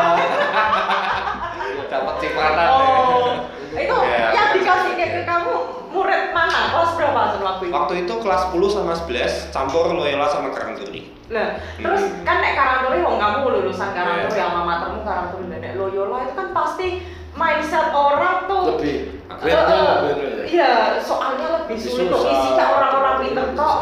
Speaker 3: dapat cipratan.
Speaker 1: oh itu
Speaker 3: Iya,
Speaker 1: yang
Speaker 3: iya.
Speaker 1: dikasih ke ke kamu murid mana kelas berapa Sun, waktu
Speaker 3: Ya.
Speaker 1: itu
Speaker 3: Waktu itu kelas 10 sama 11 campur Loyola sama Karangturi.
Speaker 1: nah terus
Speaker 3: Hmm.
Speaker 1: kan nek karangturi wong kamu lulusan karangturi
Speaker 2: Iya.
Speaker 1: yang alma matermu karangturi dan nek Loyola itu kan pasti mindset orang tuh
Speaker 2: lebih
Speaker 1: Eh,
Speaker 2: grade-nya
Speaker 1: eh,
Speaker 2: lebih anu ya
Speaker 1: Iya, soalnya lebih sulit kok.
Speaker 2: Susah.
Speaker 1: Isinya orang-orang pinter kok.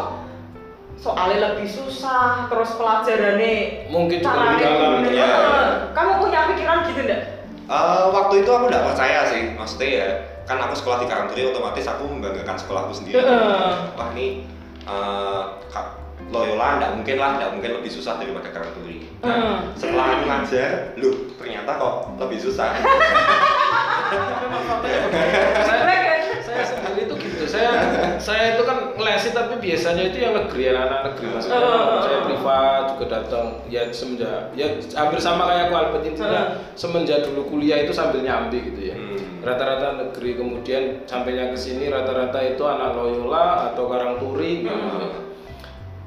Speaker 1: Soalnya lebih susah, terus pelajarannya
Speaker 2: mungkin juga
Speaker 1: caranya
Speaker 2: lebih dalam iya.
Speaker 1: bener.
Speaker 3: ya.
Speaker 1: Eh, Kamu punya pikiran gitu enggak?
Speaker 3: Eh, waktu itu aku nggak percaya sih, maksudnya ya kan aku sekolah di Karangturi otomatis aku membanggakan sekolahku sendiri.
Speaker 1: Heeh.
Speaker 3: Wah ini eh, Kak Loyola nggak mungkin lah, nggak mungkin lebih susah daripada Karangturi.
Speaker 1: Heeh.
Speaker 3: Nah, setelah aku ngajar, loh ternyata kok lebih susah.
Speaker 2: Tapi memang faktanya begitu. saya, saya sendiri itu gitu saya saya itu kan ngelesi tapi biasanya itu yang negeri anak-anak negeri maksudnya
Speaker 1: Oh.
Speaker 2: saya privat juga datang ya semenjak ya hampir sama kayak aku Albert intinya
Speaker 1: Oh.
Speaker 2: semenjak dulu kuliah itu sambil nyambi gitu ya
Speaker 3: Hmm.
Speaker 2: rata-rata negeri kemudian sampainya ke sini rata-rata itu anak Loyola atau Karangturi gitu.
Speaker 3: Hmm.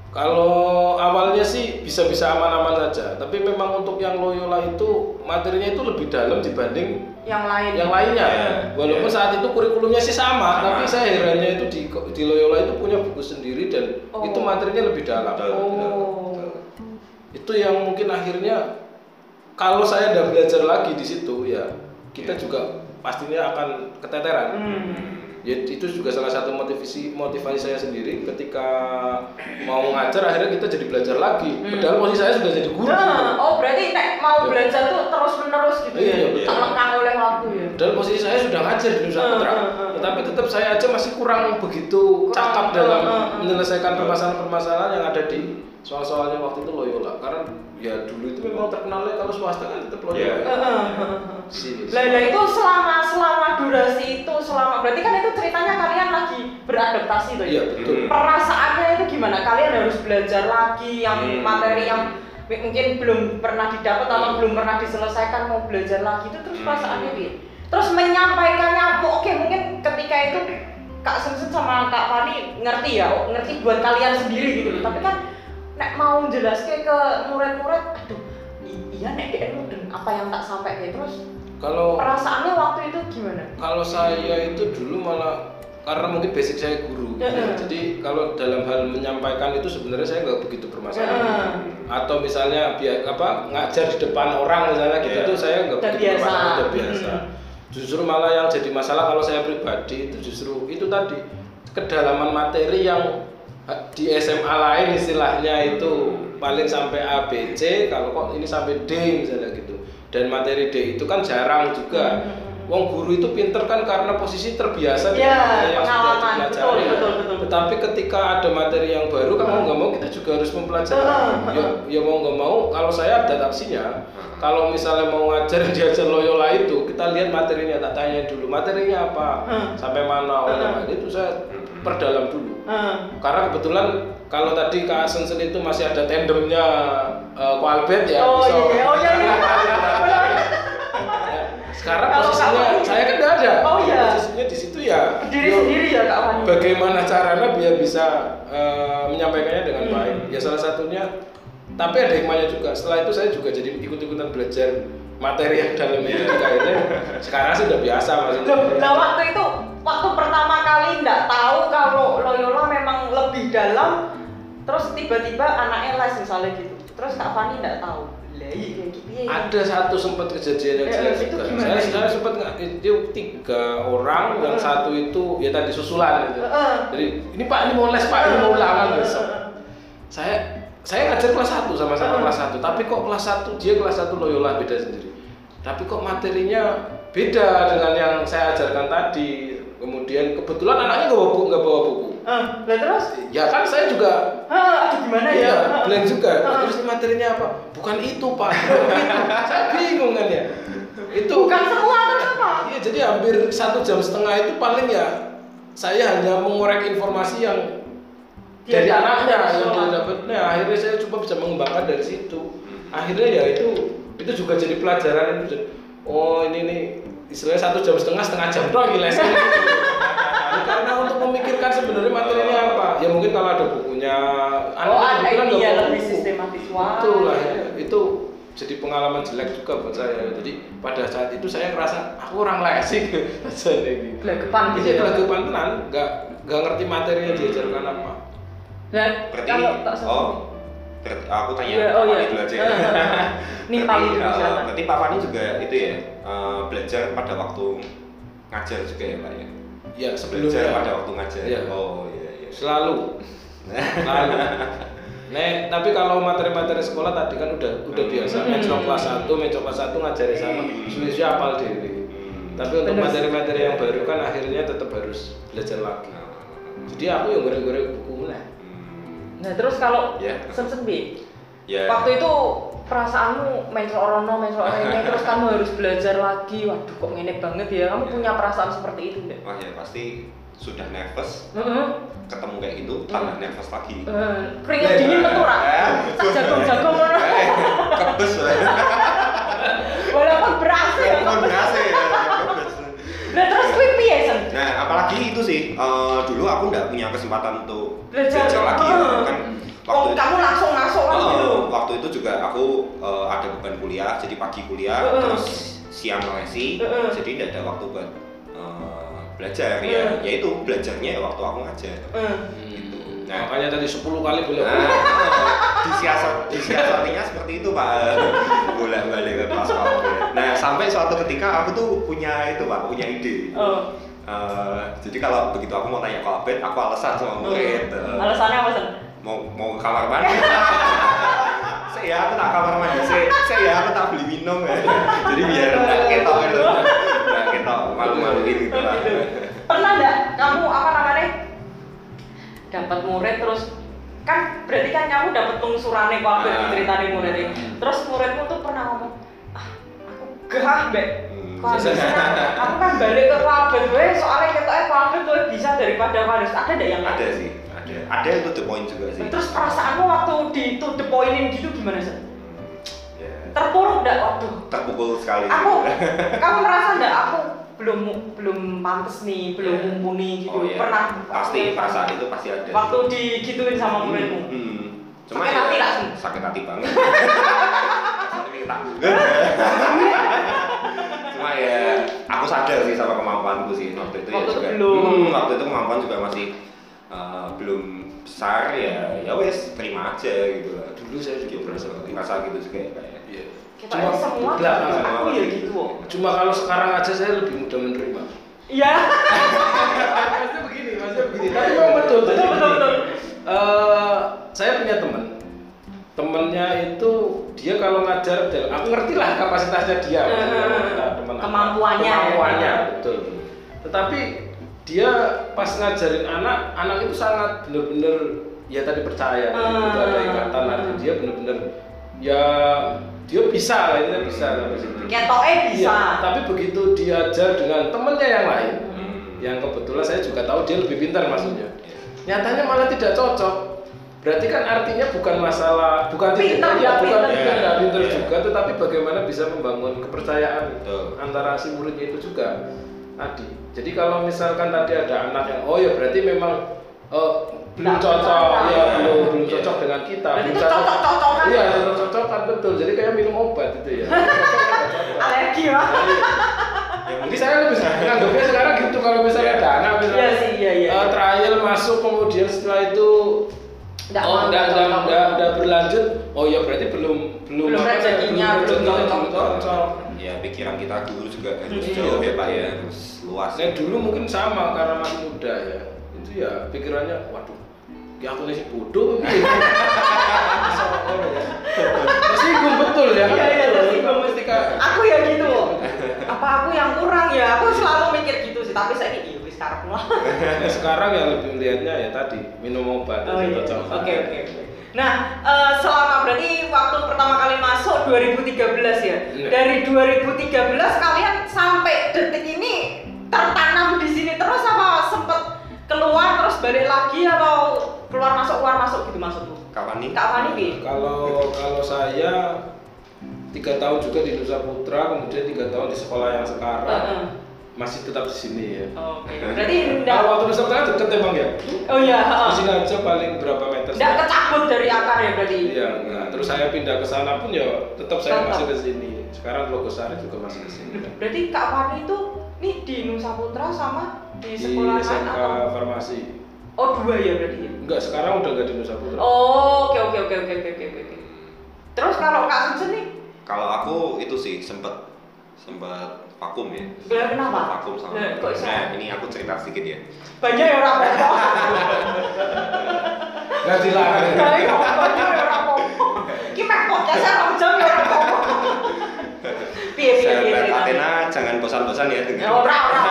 Speaker 2: Kalau awalnya sih bisa-bisa aman-aman saja, tapi memang untuk yang Loyola itu materinya itu lebih dalam dibanding
Speaker 1: Yang lain.
Speaker 2: yang lainnya
Speaker 3: Iya,
Speaker 2: walaupun
Speaker 3: iya.
Speaker 2: saat itu kurikulumnya sih sama,
Speaker 3: Sama.
Speaker 2: tapi saya herannya itu di, di Loyola itu punya buku sendiri dan
Speaker 1: Oh.
Speaker 2: itu materinya lebih dalam
Speaker 3: Betul, betul, betul.
Speaker 1: Oh.
Speaker 2: itu yang mungkin akhirnya kalau saya udah belajar lagi di situ ya kita
Speaker 3: Iya.
Speaker 2: juga pastinya akan keteteran
Speaker 1: Hmm.
Speaker 2: Ya, itu juga salah satu motivasi motivasi saya sendiri ketika mau ngajar akhirnya kita jadi belajar lagi
Speaker 1: Hmm.
Speaker 2: padahal posisi saya sudah jadi guru
Speaker 1: Nah, oh berarti nek mau
Speaker 2: Iya.
Speaker 1: belajar tuh terus menerus gitu
Speaker 2: Iya,
Speaker 1: ya?
Speaker 2: iya.
Speaker 1: Terlengkang oleh waktu ya?
Speaker 2: Padahal posisi saya sudah ngajar di Nusa
Speaker 1: Eh,
Speaker 2: Tenggara,
Speaker 1: eh, eh.
Speaker 2: tetapi tetap saya aja masih kurang begitu
Speaker 1: Kurang,
Speaker 2: cakap
Speaker 1: eh,
Speaker 2: dalam
Speaker 1: eh, eh.
Speaker 2: menyelesaikan permasalahan-permasalahan yang ada di soal-soalnya waktu itu Loyola. Karena ya dulu itu memang terkenalnya kalau swasta kan tetap Loyola.
Speaker 3: Iya.
Speaker 1: Eh, eh, eh, eh.
Speaker 2: Sini.
Speaker 1: Lah lah itu selama selama durasi itu selama berarti kan itu ceritanya kalian lagi beradaptasi tuh
Speaker 2: Iya
Speaker 1: ya.
Speaker 2: betul.
Speaker 3: Hmm.
Speaker 1: Perasaannya itu gimana? Kalian harus belajar lagi yang
Speaker 3: Hmm.
Speaker 1: materi yang mi- mungkin belum pernah didapat atau
Speaker 3: Hmm.
Speaker 1: belum pernah diselesaikan mau belajar lagi itu terus
Speaker 3: Hmm.
Speaker 1: perasaannya piye? Terus menyampaikannya apa? Oke mungkin ketika itu Kak Sensen sama Kak Fani ngerti ya, oh, ngerti buat kalian sendiri gitu.
Speaker 2: Hmm.
Speaker 1: Tapi kan nek mau jelaske ke murid-murid, aduh i- iya nek dia mudeng apa yang tak sampai ya terus
Speaker 2: Kalau
Speaker 1: perasaannya waktu itu gimana?
Speaker 2: kalau saya itu dulu malah karena mungkin basic saya guru.
Speaker 1: Eh, eh.
Speaker 2: Jadi kalau dalam hal menyampaikan itu sebenarnya saya nggak begitu bermasalah.
Speaker 1: Eh,
Speaker 2: atau misalnya biar apa ngajar di depan orang misalnya gitu
Speaker 3: Iya.
Speaker 2: tuh saya nggak
Speaker 1: Udah
Speaker 2: begitu
Speaker 1: biasa.
Speaker 2: masalah, udah biasa.
Speaker 1: Mm.
Speaker 2: Justru malah yang jadi masalah kalau saya pribadi itu justru itu tadi kedalaman materi yang eh, di SMA lain istilahnya itu paling sampai A B C kalau kok ini sampai D misalnya gitu dan materi D itu kan jarang juga
Speaker 1: Mm.
Speaker 2: Wong guru itu pinter kan karena posisi
Speaker 1: Iya,
Speaker 2: terbiasa dengan materi yang sudah
Speaker 1: pengalaman.
Speaker 2: dipelajari.
Speaker 1: Betul, betul, betul.
Speaker 2: Tetapi ketika ada materi yang baru kan mau nggak mau kita juga harus mempelajari.
Speaker 1: Heeh,
Speaker 2: Ya,
Speaker 1: heeh.
Speaker 2: ya mau nggak mau kalau saya
Speaker 1: Ah.
Speaker 2: adaptasinya, kalau misalnya mau ngajar yang diajar Loyola itu kita lihat materinya, tak tanya dulu materinya apa,
Speaker 1: Heeh.
Speaker 2: sampai mana, oleh
Speaker 1: Heeh.
Speaker 2: mana. itu saya
Speaker 3: Heeh.
Speaker 2: perdalam dulu.
Speaker 1: Eh,
Speaker 2: Karena kebetulan kalau tadi Kak Sensen itu masih ada tandemnya eh, Ko Albert ya.
Speaker 1: oh
Speaker 2: bisa-
Speaker 1: iya, oh iya iya. Benar.
Speaker 2: Ya, sekarang
Speaker 1: Kalau
Speaker 2: posisinya
Speaker 1: kamu-
Speaker 2: saya kan nggak ada
Speaker 1: Oh, iya.
Speaker 2: posisinya di situ ya
Speaker 1: Berdiri
Speaker 2: yo,
Speaker 1: sendiri ya Kak Fani.
Speaker 2: bagaimana caranya biar bisa eh, menyampaikannya dengan
Speaker 1: Hmm.
Speaker 2: baik ya salah satunya tapi ada hikmahnya juga setelah itu saya juga jadi ikut-ikutan belajar materi yang dalam itu juga akhirnya sekarang sudah biasa maksudnya
Speaker 1: Iya. Loh, nah waktu itu waktu pertama kali nggak tahu kalau Loyola memang lebih dalam terus tiba-tiba anaknya les misalnya gitu terus Kak Fani nggak tahu lah iya kayak gitu ya
Speaker 2: ada satu sempat kejadian yang
Speaker 1: Eh,
Speaker 2: jelas
Speaker 1: itu
Speaker 2: juga
Speaker 1: gimana?
Speaker 2: saya, saya sempat nggak itu tiga orang yang
Speaker 1: Eh.
Speaker 2: satu itu ya tadi susulan
Speaker 1: Eh,
Speaker 2: itu
Speaker 1: eh.
Speaker 2: jadi ini pak ini mau les pak ini mau ulangan besok saya saya ngajar kelas 1
Speaker 1: Eh,
Speaker 2: sama-sama kelas 1 tapi kok kelas 1 dia kelas 1 Loyola beda sendiri tapi kok materinya beda dengan yang saya ajarkan tadi kemudian kebetulan anaknya nggak bawa buku nggak bawa buku
Speaker 1: Eh, lah terus?
Speaker 2: ya kan saya juga
Speaker 1: Hah, aduh gimana ya?
Speaker 2: iya blank juga
Speaker 1: Ah.
Speaker 2: terus materinya apa bukan itu pak Bukan itu. saya bingung kan ya itu
Speaker 1: Bukan semua terus apa?
Speaker 2: Iya, jadi hampir satu jam setengah itu paling ya saya hanya mengorek informasi yang
Speaker 1: Dia
Speaker 2: dari
Speaker 1: dapat
Speaker 2: anaknya
Speaker 1: dari
Speaker 2: yang dia
Speaker 1: sekolah.
Speaker 2: dapat. Nah, akhirnya saya coba bisa mengembangkan dari situ. Akhirnya ya itu itu juga jadi pelajaran itu. Oh ini nih istilahnya satu jam setengah setengah jam doang ini lesnya. Ya, karena untuk memikirkan sebenarnya materinya apa ya mungkin kalau ada bukunya
Speaker 1: oh, ada
Speaker 2: kebetulan nggak
Speaker 1: idea
Speaker 2: bawa
Speaker 1: lebih
Speaker 2: buku.
Speaker 1: sistematis. Wah.
Speaker 2: Itulah ya, itu jadi pengalaman jelek juga buat saya. Jadi pada saat itu saya ngerasa aku orang lesing aja kayak gitu.
Speaker 1: Gelegepan gitu
Speaker 2: Iya,
Speaker 1: ya? Hmm.
Speaker 2: gelegepan tenan, nggak nggak ngerti materi yang diajarkan apa.
Speaker 1: Nah,
Speaker 3: berarti
Speaker 1: kalau tak
Speaker 3: oh
Speaker 1: semua.
Speaker 3: berarti, aku tanya
Speaker 1: Iya,
Speaker 3: Pak
Speaker 1: oh
Speaker 3: Fani
Speaker 1: iya.
Speaker 3: dulu aja ya.
Speaker 1: Eh, eh. Nih, Pak Fani
Speaker 3: Berarti,
Speaker 1: dulu,
Speaker 3: eh,
Speaker 1: silakan.
Speaker 3: berarti Pak Fani juga itu ya eh, belajar pada waktu ngajar juga ya Pak ya
Speaker 2: Ya
Speaker 3: belajar pada
Speaker 2: sebelumnya
Speaker 3: waktu ngajar
Speaker 2: Iya.
Speaker 3: oh iya iya
Speaker 2: selalu selalu. Nek, tapi kalau materi-materi sekolah tadi kan udah udah biasa.
Speaker 1: Hmm.
Speaker 2: Mencok kelas satu, mencok kelas satu ngajari sama,
Speaker 3: Hmm.
Speaker 2: selisih apal dewi.
Speaker 3: Hmm.
Speaker 2: Tapi untuk
Speaker 1: Bener.
Speaker 2: materi-materi yang baru kan akhirnya tetap harus belajar lagi.
Speaker 3: Nah,
Speaker 2: Jadi aku yang goreng-goreng buku lah.
Speaker 3: hmm.
Speaker 1: Nah, terus kalau
Speaker 3: Ya.
Speaker 1: sen-sen bi,
Speaker 3: ya
Speaker 1: waktu itu perasaanmu mencel orono, mencel orene, terus kamu harus belajar lagi. Waduh, kok ngene banget ya? Kamu
Speaker 3: Iya.
Speaker 1: punya perasaan seperti itu enggak?
Speaker 3: wah ya pasti sudah nervous
Speaker 1: Heeh.
Speaker 3: ketemu kayak gitu tambah nervous lagi
Speaker 1: Hmm. Eh, Keringat dingin metu ra?
Speaker 3: Eh.
Speaker 1: Sak jago-jago ngono.
Speaker 3: Eh, kebes lah
Speaker 1: Iya. Walaupun berasa ya.
Speaker 3: Walaupun berasa ya kebes.
Speaker 1: Nah, terus kuwi piye, Sen?
Speaker 3: nah apalagi itu sih eh, dulu aku nggak punya kesempatan untuk
Speaker 1: Belajar.
Speaker 3: belajar, lagi
Speaker 1: Heeh.
Speaker 3: kan
Speaker 1: Oh, kamu langsung masuk kan gitu.
Speaker 3: Oh, waktu itu juga aku eh, ada beban kuliah, jadi pagi kuliah,
Speaker 1: Heeh.
Speaker 3: terus siang lesi,
Speaker 1: Heeh.
Speaker 3: jadi tidak ada waktu buat eh, belajar ya.
Speaker 1: Heeh.
Speaker 3: Ya itu belajarnya ya waktu aku ngajar.
Speaker 1: Eh,
Speaker 3: Gitu.
Speaker 2: Nah,
Speaker 3: Nah,
Speaker 2: makanya tadi 10 kali boleh
Speaker 3: nah disiasat, disiasatinya seperti itu pak, bolak balik ke kelas Pak. Nah sampai suatu ketika aku tuh punya itu pak, punya ide.
Speaker 1: Oh.
Speaker 3: Eh, jadi kalau begitu aku mau tanya ke Abed, aku alasan sama
Speaker 1: Oh.
Speaker 3: murid. eh,
Speaker 1: Alasannya apa, Sen?
Speaker 3: mau mau ke kamar mandi saya ya, aku tak kamar mandi saya saya ya, aku tak beli minum ya. jadi biar nggak ketok gitu
Speaker 1: Oh.
Speaker 3: nggak ketok malu-maluin gitu lah
Speaker 1: pernah nggak kamu apa namanya dapat murid terus kan berarti kan kamu dapat pengusurannya kok aku
Speaker 3: Ah. Hmm.
Speaker 1: ceritain murid ini terus muridmu tuh pernah ngomong ah aku gah mbak
Speaker 3: Hmm.
Speaker 1: Kualitasnya, aku kan balik ke kuabet gue soalnya ketoknya kuabet gue bisa daripada kuabet ada nggak yang gitu?
Speaker 3: ada sih ada ada itu the point juga sih
Speaker 1: terus perasaanmu waktu di to the pointin gitu gimana sih
Speaker 3: ya,
Speaker 1: terpuruk nggak waktu
Speaker 3: terpukul sekali Oh,
Speaker 1: aku
Speaker 3: sih.
Speaker 1: kamu merasa nggak aku belum belum pantas nih belum mumpuni gitu
Speaker 3: oh, iya.
Speaker 1: pernah
Speaker 3: pasti perasaan itu pasti ada
Speaker 1: waktu digituin sama muridmu
Speaker 3: Hmm.
Speaker 1: Sakit hati
Speaker 3: ya,
Speaker 1: langsung.
Speaker 3: sakit hati banget Sakit hati tak. cuma ya aku sadar sih sama kemampuanku sih waktu itu
Speaker 1: Waktu
Speaker 3: ya juga
Speaker 1: itu belum.
Speaker 3: Hmm, waktu itu kemampuan juga masih eh, belum besar ya ya wes terima aja gitu lah
Speaker 2: Dulu saya juga
Speaker 3: gitu
Speaker 2: merasa seperti itu.
Speaker 3: merasa gitu juga ya kayak
Speaker 2: Iya.
Speaker 1: kita
Speaker 2: Cuma
Speaker 1: semua
Speaker 2: belakang
Speaker 1: gitu,
Speaker 2: sama
Speaker 1: aku ya gitu kok
Speaker 2: Cuma kalau sekarang aja saya lebih mudah menerima.
Speaker 1: iya
Speaker 2: maksudnya begini, maksudnya begini. Tapi memang betul,
Speaker 1: Betul,
Speaker 2: Jadi
Speaker 1: betul,
Speaker 2: begini.
Speaker 1: betul.
Speaker 2: Eh, saya punya teman. Temennya itu dia kalau ngajar, dan aku ngerti lah kapasitasnya dia.
Speaker 1: Eh,
Speaker 2: maksudnya kita teman apa.
Speaker 1: kemampuannya, ya.
Speaker 2: Kemampuannya, betul. Tetapi dia pas ngajarin anak, anak itu sangat bener-bener ya tadi percaya.
Speaker 1: Eh.
Speaker 2: Itu ada ikatan, ada dia bener-bener ya dia bisa lah, ini bisa sampai situ.
Speaker 1: ketoknya bisa
Speaker 2: Iya, tapi begitu diajar dengan temennya yang lain,
Speaker 1: Hmm.
Speaker 2: yang kebetulan saya juga tahu dia lebih pintar
Speaker 3: Hmm.
Speaker 2: maksudnya. Nyatanya malah tidak cocok. Berarti kan artinya bukan masalah, bukan titik-
Speaker 1: Pintar,
Speaker 2: iya,
Speaker 1: nggak
Speaker 2: bukan
Speaker 1: pintar.
Speaker 2: pintar, nggak pintar
Speaker 3: Iya.
Speaker 2: juga, tetapi bagaimana bisa membangun kepercayaan
Speaker 3: Betul.
Speaker 2: antara si muridnya itu juga tadi. Jadi kalau misalkan tadi ada anak yang oh ya berarti memang eh, belum
Speaker 1: Nggak
Speaker 2: cocok,
Speaker 1: cocok.
Speaker 2: ya belum belum
Speaker 3: Iya.
Speaker 2: cocok dengan kita.
Speaker 1: Berarti
Speaker 2: belum
Speaker 1: itu
Speaker 2: cocok-
Speaker 1: cocok-cocokan.
Speaker 2: Iya, cocok-cocokan betul. Jadi kayak minum obat itu ya. Cocok-cocokan.
Speaker 1: alergi ya
Speaker 3: yang
Speaker 2: Jadi saya lebih nganggapnya sekarang gitu kalau misalnya ada anak misalnya
Speaker 1: Iya sih, iya, iya.
Speaker 2: eh, trial masuk kemudian setelah itu
Speaker 1: Nggak
Speaker 2: oh
Speaker 1: mau,
Speaker 2: enggak
Speaker 1: nggak
Speaker 2: enggak
Speaker 1: cocok.
Speaker 2: enggak enggak berlanjut oh ya berarti belum belum
Speaker 1: Belum
Speaker 2: apa,
Speaker 1: rezekinya, belum
Speaker 2: rezekinya,
Speaker 1: cocok.
Speaker 2: belum cocok.
Speaker 3: ya pikiran kita dulu juga harus
Speaker 1: Iya.
Speaker 3: jauh ya pak ya harus luas
Speaker 2: Nah, Saya dulu mungkin sama karena masih muda ya itu ya pikirannya waduh ya aku sih bodoh piye. Tersinggung betul ya.
Speaker 1: Iya, iya, tersinggung.
Speaker 2: ketika
Speaker 1: aku ya gitu apa aku yang kurang ya aku selalu mikir gitu sih tapi saya ini wis karep lah
Speaker 2: Ya, sekarang yang lebih melihatnya ya tadi minum obat
Speaker 1: oh
Speaker 2: itu
Speaker 1: iya
Speaker 2: cocok.
Speaker 1: oke oke oke. nah eh, selama berarti waktu pertama kali masuk 2013 ya
Speaker 2: Iya.
Speaker 1: dari 2013 kalian sampai detik ini tertanam di sini terus apa sempet keluar terus balik lagi atau keluar masuk keluar masuk gitu maksudku
Speaker 3: Kapan nih?
Speaker 1: kak Fani bi
Speaker 2: Kalau kalau saya tiga tahun juga di Nusa Putra, kemudian tiga tahun di sekolah yang sekarang
Speaker 1: Heeh.
Speaker 2: masih tetap di sini ya.
Speaker 1: oke berarti
Speaker 2: Nah,
Speaker 1: ndak
Speaker 2: waktu Nusa Putra deket emang ya.
Speaker 1: oh iya
Speaker 2: Di
Speaker 1: heeh.
Speaker 2: sini aja paling berapa meter?
Speaker 1: ndak kecabut dari akar ya berarti
Speaker 2: Iya. Nah, terus saya pindah ke sana pun ya tetap saya
Speaker 1: Tetap.
Speaker 2: masih ke sini. Sekarang Logosari juga masih ke sini.
Speaker 1: Berarti Kak Fani itu nih di Nusa Putra sama di
Speaker 2: Di
Speaker 1: sekolah lain
Speaker 2: SMK
Speaker 1: atau?
Speaker 2: Farmasi.
Speaker 1: Oh dua ya berarti ya?
Speaker 2: Enggak, sekarang udah nggak di Nusa Putra.
Speaker 1: Oh oke oke oke oke oke oke. oke. Terus kalau Kak Sunsen nih,
Speaker 3: Kalau aku itu sih sempet sempet vakum ya.
Speaker 1: Lah, kenapa?
Speaker 3: Vakum sama.
Speaker 1: Lah, kok bisa?
Speaker 3: Nah, ini aku cerita sedikit ya.
Speaker 1: banyak ya orang apa?
Speaker 2: Nggak dilarang.
Speaker 1: Banyak ya orang apa? Kita podcastnya orang jam ya orang apa? Piye piye piye.
Speaker 3: Sahabat
Speaker 1: ceritanya?
Speaker 3: Athena jangan bosan-bosan ya
Speaker 1: Ya,
Speaker 3: dengar.
Speaker 1: Ora ora.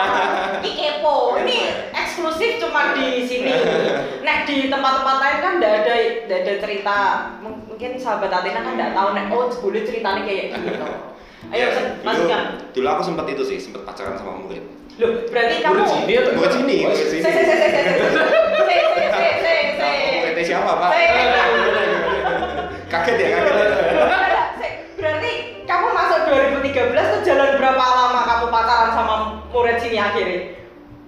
Speaker 1: Ini kepo. Ini eksklusif cuma di sini. Nah di tempat-tempat lain kan tidak ada nggak ada cerita. M- Mungkin sahabat Athena kan tidak tahu nek oh jebule ceritanya kayak gitu. Ayo
Speaker 3: Ya,
Speaker 1: Sen,
Speaker 3: dulu,
Speaker 1: masukkan.
Speaker 3: dulu aku sempat itu sih, sempat pacaran sama murid.
Speaker 1: Loh berarti kamu.
Speaker 2: Murid sini atau
Speaker 3: Murid sini,
Speaker 2: Oh,
Speaker 3: murid
Speaker 1: Se
Speaker 3: sini.
Speaker 1: se se se se se se se se se se.
Speaker 3: PT siapa, Pak?
Speaker 1: Saya-
Speaker 3: kaget ya, kaget ya.
Speaker 1: Se- Berarti kamu masuk 2013 tuh jalan berapa lama kamu pacaran sama murid sini akhirnya?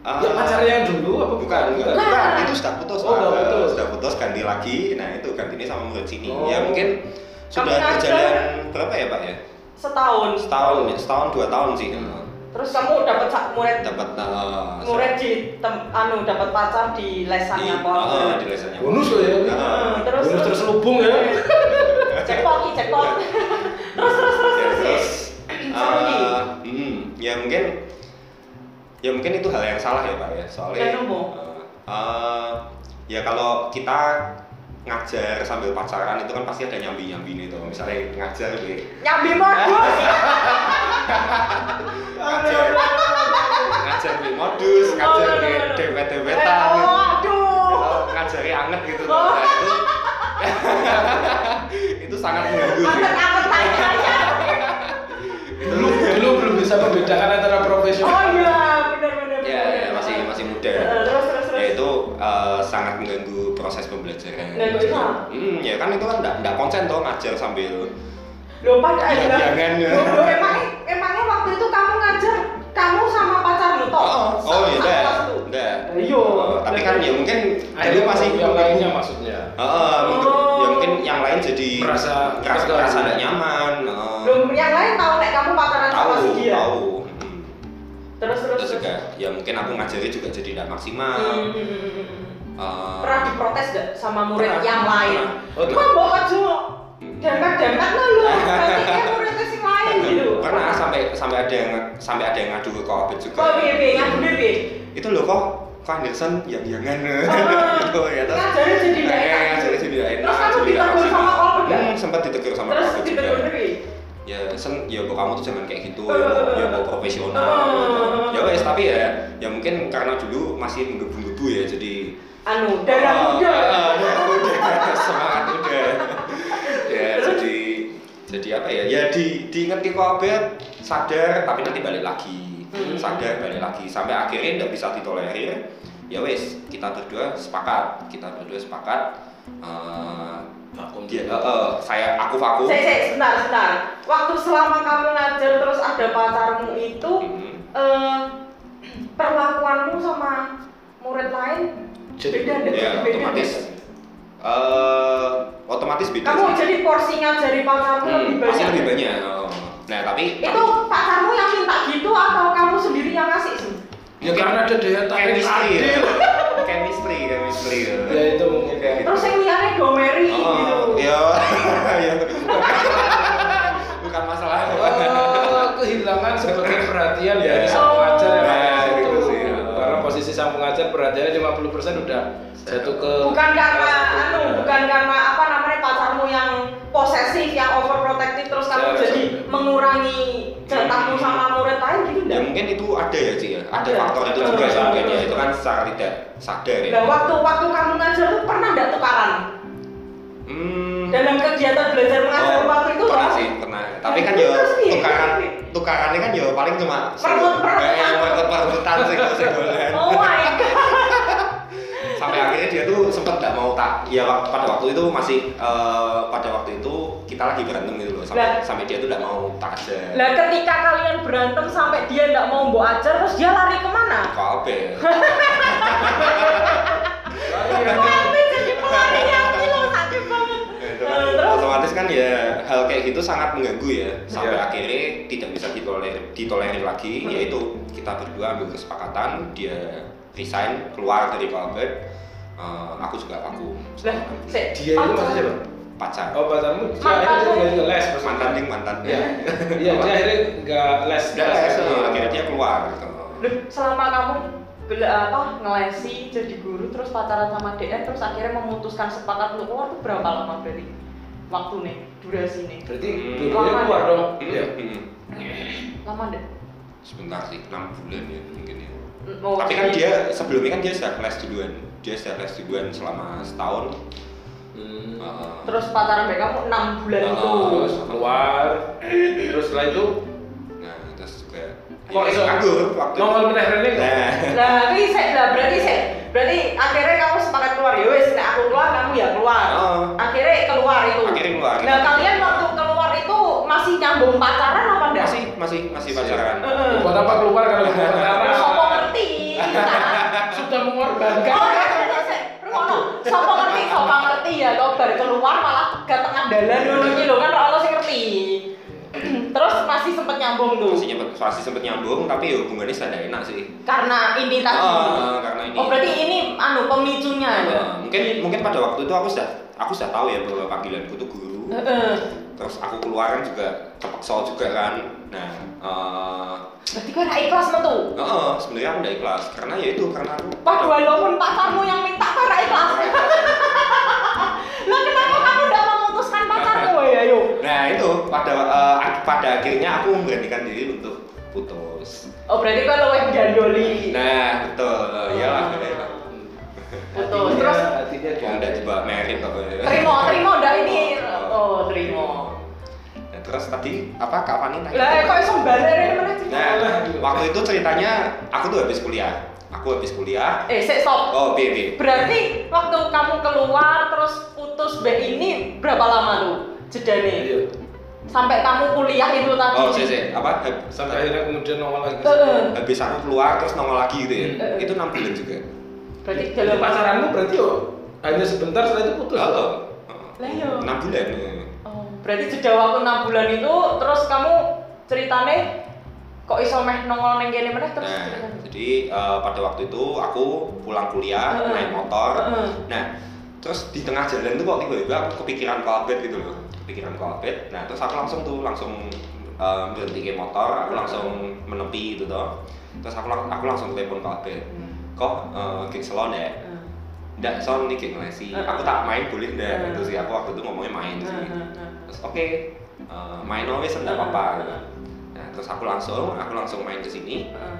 Speaker 3: Ah,
Speaker 2: Ya pacarnya yang dulu apa
Speaker 3: bukan,
Speaker 1: Bukan.
Speaker 3: bukan, bukan. Itu sudah putus,
Speaker 2: Oh,
Speaker 3: Pak.
Speaker 2: udah putus.
Speaker 3: Sudah putus, ganti lagi. Nah, itu gantinya sama murid sini.
Speaker 2: Oh.
Speaker 3: Ya mungkin sudah
Speaker 1: ngajar.
Speaker 3: berjalan berapa ya, Pak ya?
Speaker 1: Setahun.
Speaker 3: Setahun, ya, setahun dua tahun sih.
Speaker 2: Hmm.
Speaker 1: Terus kamu dapat sa- murid
Speaker 3: Dapat eh,
Speaker 1: murid di tem, anu dapat pacar di
Speaker 3: di,
Speaker 1: lesannya
Speaker 3: eh,
Speaker 1: kok
Speaker 3: di lesannya.
Speaker 2: Bonus loh ya.
Speaker 3: Heeh.
Speaker 1: terus-
Speaker 2: Bonus terus lubung ya.
Speaker 1: cekpot ki cekpot terus terus terus
Speaker 3: ya
Speaker 1: terus
Speaker 3: terus
Speaker 1: Seru nih.
Speaker 3: eh, hmm, ya mungkin ya mungkin itu hal yang salah ya pak ya soalnya
Speaker 1: Dan apa?
Speaker 3: eh, eh, ya kalau kita ngajar sambil pacaran itu kan pasti ada nyambi nyambi itu misalnya ngajar di
Speaker 1: nyambi modus
Speaker 3: ngajar ngajar di modus ngajar
Speaker 1: Oh, no, no,
Speaker 3: di
Speaker 1: no, no. Eh,
Speaker 3: dempet dempetan
Speaker 1: oh aduh
Speaker 3: ngajari anget gitu
Speaker 1: Oh.
Speaker 3: Nah, itu itu sangat mengganggu sih.
Speaker 1: anget anget tanya aja
Speaker 2: dulu dulu belum bisa membedakan antara
Speaker 1: oh
Speaker 2: profesional
Speaker 1: iya benar benar
Speaker 3: ya, ya
Speaker 1: benar.
Speaker 3: masih masih muda
Speaker 1: Eh, terus terus terus
Speaker 3: ya itu eh, sangat mengganggu proses pembelajaran
Speaker 1: Nah, itu bisa.
Speaker 3: hmm, ya kan itu kan nggak nggak konsen toh ngajar sambil
Speaker 1: lupa kan
Speaker 3: Ya, jangan, ya.
Speaker 1: emangnya emangnya waktu itu kamu ngajar kamu sama pacarmu toh
Speaker 3: oh oh ya udah udah
Speaker 1: Ayo.
Speaker 3: Oh, tapi kan ya mungkin dulu
Speaker 2: Akhirnya
Speaker 3: masih
Speaker 2: yang lainnya maksudnya
Speaker 3: Eh, eh, mungkin-
Speaker 1: Oh.
Speaker 3: ya mungkin yang lain jadi
Speaker 2: Merasa
Speaker 3: merasa
Speaker 2: terganggu.
Speaker 3: merasa nggak nyaman eh,
Speaker 1: belum yang lain tahu nek kamu pacaran
Speaker 3: tahu
Speaker 1: sama si dia
Speaker 3: tahu Hmm.
Speaker 1: terus terus
Speaker 3: terus
Speaker 1: terus
Speaker 3: juga ya mungkin aku ngajarnya juga jadi tidak maksimal
Speaker 1: Hmm, hmm, hmm, hmm, hmm.
Speaker 3: Eh,
Speaker 1: pernah diprotes gak sama murid
Speaker 3: Pernah.
Speaker 1: yang lain?
Speaker 2: Oh,
Speaker 1: Kok bawa ojo demek-demek lo lu, berarti kayak muridnya sing lain gitu. iya,
Speaker 3: pernah sampai sampai ada yang sampai ada yang ngadu ke covid juga
Speaker 1: Kok Oh, piye piye yang bener piye?
Speaker 3: itu loh kok kok Anderson yang jangan gitu ya terus
Speaker 1: Ah. Ngajarin jadi ndak
Speaker 3: Eh,
Speaker 1: enak.
Speaker 3: jadi jadi nggak enak
Speaker 1: Terus kamu
Speaker 3: jadi nggak
Speaker 1: ditegur
Speaker 3: maksimal.
Speaker 1: sama Kolbe nggak?
Speaker 3: hmm, sempat ditegur sama
Speaker 1: Terus
Speaker 3: Kolbe
Speaker 1: ditegur
Speaker 3: juga.
Speaker 1: piye?
Speaker 3: ya sen ya kok kamu tuh jangan kayak gitu
Speaker 1: Eh,
Speaker 3: ya mau,
Speaker 1: eh,
Speaker 3: ya
Speaker 1: eh.
Speaker 3: mau profesional
Speaker 1: Eh,
Speaker 3: gitu.
Speaker 1: eh, eh.
Speaker 3: ya wes tapi ya ya mungkin karena dulu masih menggebu-gebu ya jadi
Speaker 1: Anu, darah
Speaker 3: Ah,
Speaker 1: muda.
Speaker 3: ah, darah muda semangat muda ya
Speaker 1: Terus?
Speaker 3: jadi jadi apa ya ya di diingetin kobet sadar tapi nanti balik lagi
Speaker 1: Hmm.
Speaker 3: sadar balik lagi sampai akhirnya nggak bisa ditolerir ya wes kita berdua sepakat kita berdua sepakat eh,
Speaker 2: vakum
Speaker 3: dia eh, eh, saya aku vakum
Speaker 1: Saya saya sebentar sebentar. Waktu selama kamu ngajar terus ada pacarmu itu
Speaker 3: Hmm.
Speaker 1: eh, perlakuanmu sama murid lain
Speaker 2: Jadi-
Speaker 1: beda nggak?
Speaker 3: ya
Speaker 1: Beda
Speaker 3: otomatis
Speaker 1: nggak?
Speaker 3: eh, otomatis beda
Speaker 1: Kamu
Speaker 3: sih.
Speaker 1: jadi porsi ngajari pacarmu
Speaker 3: Hmm,
Speaker 1: lebih
Speaker 3: pasti
Speaker 1: banyak.
Speaker 3: lebih banyak oh. nah tapi
Speaker 1: itu pacarmu yang minta gitu atau kamu sendiri yang ngasih sih?
Speaker 2: ya karena ada daya tarik
Speaker 3: chemistry ya.
Speaker 2: adil.
Speaker 3: chemistry chemistry
Speaker 2: ya itu mungkin kayak gitu
Speaker 1: Terus yang liane gomeri gitu.
Speaker 3: oh ya ya bukan masalah
Speaker 2: Oh, kehilangan sebagai perhatian dari
Speaker 3: Ya.
Speaker 2: sang pengajar yang
Speaker 3: Nah,
Speaker 2: ada di
Speaker 3: gitu
Speaker 2: situ.
Speaker 3: sih.
Speaker 2: karena posisi sang pengajar perhatiannya 50% udah jatuh ke
Speaker 1: bukan karena
Speaker 2: salah satu.
Speaker 1: anu bukan karena apa namanya pacarmu yang posesif yang overprotective terus kamu
Speaker 2: Saya rasa
Speaker 1: jadi
Speaker 2: tidak.
Speaker 1: mengurangi jatahmu sama murid lain gitu
Speaker 3: ya
Speaker 1: enggak
Speaker 3: mungkin itu ada ya Ci ya ada,
Speaker 1: Ada.
Speaker 3: faktor itu
Speaker 2: Ada.
Speaker 3: juga sih
Speaker 2: Ada.
Speaker 3: mungkin ya itu kan secara tidak sadar ya
Speaker 1: dan waktu waktu kamu ngajar tuh pernah nggak tukaran
Speaker 3: hmm
Speaker 1: dalam kegiatan belajar mengajar
Speaker 3: oh,
Speaker 1: waktu itu
Speaker 3: pernah
Speaker 1: loh
Speaker 3: sih pernah tapi kan
Speaker 1: Itu
Speaker 3: ya
Speaker 1: sih.
Speaker 3: tukaran tukarannya kan ya paling cuma
Speaker 1: Perut-perutan.
Speaker 3: Eh, perut-perutan sih segolan
Speaker 1: oh my god
Speaker 3: sampai akhirnya dia tuh sempet nggak mau tak ya wak- pada waktu itu masih eh, pada waktu itu kita lagi berantem gitu loh sampai
Speaker 1: Lah.
Speaker 3: sampai dia tuh nggak mau tak aja
Speaker 1: lah ketika kalian berantem sampai dia nggak mau mbok ajar terus dia lari kemana
Speaker 3: kok apa ya?
Speaker 2: Iya.
Speaker 1: Tapi jadi pelatih hati loh sakit banget
Speaker 3: Itu kan
Speaker 1: Eh, terus
Speaker 3: otomatis kan ya hal kayak gitu sangat mengganggu ya sampai
Speaker 2: Iya.
Speaker 3: akhirnya tidak bisa ditolerir ditolerir lagi
Speaker 1: Hmm.
Speaker 3: yaitu kita berdua ambil kesepakatan dia resign keluar dari Calbert eh, aku juga vakum
Speaker 1: lah sik,
Speaker 2: dia itu
Speaker 1: pacar.
Speaker 2: maksudnya siapa?
Speaker 3: pacar
Speaker 2: Oh pacarmu dia
Speaker 1: Mantan.
Speaker 2: akhirnya dia nggak les maksudnya.
Speaker 3: mantan ding mantan
Speaker 2: Iya. Iya dia akhirnya nggak les.
Speaker 3: Udah lah, ya, so, akhirnya dia keluar gitu.
Speaker 1: Loh, selama kamu bela, apa ngelesi jadi guru terus pacaran sama DN terus akhirnya memutuskan sepakat untuk keluar tuh berapa lama berarti waktu nih durasi nih
Speaker 2: Berarti
Speaker 3: Hmm.
Speaker 2: dua-duanya keluar dong. Iya.
Speaker 3: Hmm.
Speaker 1: lama deh
Speaker 3: sebentar sih enam bulan ya mungkin ya
Speaker 1: mau
Speaker 3: tapi kan dia sebelumnya kan dia sudah les duluan dia sudah les duluan selama setahun Eh,
Speaker 1: terus pacaran dari kamu enam bulan
Speaker 3: Oh,
Speaker 1: itu
Speaker 2: Hmm. Terus keluar. Terus setelah itu
Speaker 3: Nah, terus juga
Speaker 2: Kok
Speaker 3: ya,
Speaker 2: iso?
Speaker 3: nganggur waktu itu.
Speaker 2: nongol meneh Rene kok.
Speaker 3: Nah,
Speaker 1: nah tapi saya lah berarti saya berarti akhirnya kamu sepakat keluar ya wes nek aku keluar kamu ya keluar
Speaker 3: Oh.
Speaker 1: akhirnya keluar itu
Speaker 3: Akhirnya keluar.
Speaker 1: nah kalian waktu keluar itu masih nyambung pacaran apa enggak
Speaker 3: masih masih masih pacaran.
Speaker 1: Heeh.
Speaker 2: Buat apa keluar kalau
Speaker 3: Nah.
Speaker 2: nggak
Speaker 1: Terus
Speaker 2: pacaran?
Speaker 1: apa ngerti
Speaker 2: Sudah mengorbankan.
Speaker 1: Oh, ya, ya, ya. Rumono, sapa ngerti, sapa ngerti ya kok bar keluar malah ke tengah dalan ngono iki lho kan ora ono sing ngerti. Terus masih sempet nyambung tuh.
Speaker 3: Masih nyempet, masih sempet nyambung tapi ya hubungannya sudah nggak enak sih.
Speaker 1: Karena ini tadi.
Speaker 3: Oh, karena ini.
Speaker 1: Oh, berarti ini anu pemicunya ya.
Speaker 3: Eh, mungkin mungkin pada waktu itu aku sudah aku sudah tahu ya bahwa panggilanku tuh guru.
Speaker 1: Heeh.
Speaker 3: Terus aku keluar kan juga terpaksa juga kan. Nah, eh
Speaker 1: Berarti kok ora ikhlas metu.
Speaker 3: eh, eh, sebenarnya aku nggak ikhlas karena ya itu karena aku
Speaker 1: Pak walaupun pacarmu yang minta kok ora ikhlas. Lah kenapa kamu enggak memutuskan pacarmu ya yo?
Speaker 3: Nah, itu pada eh, ak- pada akhirnya aku memberanikan diri untuk putus.
Speaker 1: Oh, berarti kok luwih gandoli.
Speaker 3: Nah, betul. Iyalah,
Speaker 1: Oh.
Speaker 3: iyalah.
Speaker 1: Betul.
Speaker 2: Hatinya-
Speaker 1: Terus
Speaker 2: hatinya
Speaker 3: Wong ndak
Speaker 2: di-
Speaker 3: dibawa merit apa ya.
Speaker 1: Terima, terima ndak ini. Oh, terima.
Speaker 3: Nah, terus tadi apa Kak Fani tanya?
Speaker 1: Lah kok iso balik ini meneh sih?
Speaker 3: Nah, waktu itu ceritanya aku tuh habis kuliah. Aku habis kuliah.
Speaker 1: Eh, sik stop.
Speaker 3: Oh, piye piye.
Speaker 1: Berarti waktu kamu keluar terus putus B ini berapa lama tuh
Speaker 2: Iya.
Speaker 1: jedanya? Sampai kamu kuliah itu tadi.
Speaker 3: Oh, sih sih. Apa? Hab-
Speaker 2: Sampai akhirnya kemudian nongol lagi.
Speaker 1: Heeh.
Speaker 3: Habis aku keluar terus nongol lagi gitu ya.
Speaker 1: Eh.
Speaker 3: Itu 6 bulan juga.
Speaker 1: Berarti
Speaker 2: Itu
Speaker 1: dalam
Speaker 2: pacaranmu berarti yo hanya sebentar setelah itu putus.
Speaker 3: Heeh.
Speaker 1: Lah, iya.
Speaker 3: 6 bulan. ya.
Speaker 1: Oh, berarti jeda waktu 6 bulan itu terus kamu ceritane kok iso meh nongol ning kene meneh terus
Speaker 3: Nah,
Speaker 1: ceritanya?
Speaker 3: jadi eh, pada waktu itu aku pulang kuliah
Speaker 1: Heeh.
Speaker 3: naik motor.
Speaker 1: Heeh.
Speaker 3: Nah, terus di tengah jalan tuh kok tiba-tiba aku kepikiran kolbet gitu loh, kepikiran kolbet. Nah, terus aku langsung tuh langsung eh, berhenti ke motor, aku langsung menepi gitu toh. Terus aku lang- aku langsung telepon kolbet. Kok eh gig selon ya?
Speaker 1: Hmm.
Speaker 3: Ndak son nih gig ngelesi.
Speaker 1: Heeh.
Speaker 3: Aku tak main boleh ndak
Speaker 1: Heeh.
Speaker 3: gitu sih. Aku waktu itu ngomongnya main
Speaker 2: Nah,
Speaker 1: Heeh,
Speaker 3: sih.
Speaker 1: heeh, heeh.
Speaker 3: Terus oke, eh, main always enggak
Speaker 1: Heeh.
Speaker 3: apa-apa. Nah, terus aku langsung aku langsung main ke sini
Speaker 1: Heeh.
Speaker 2: nah.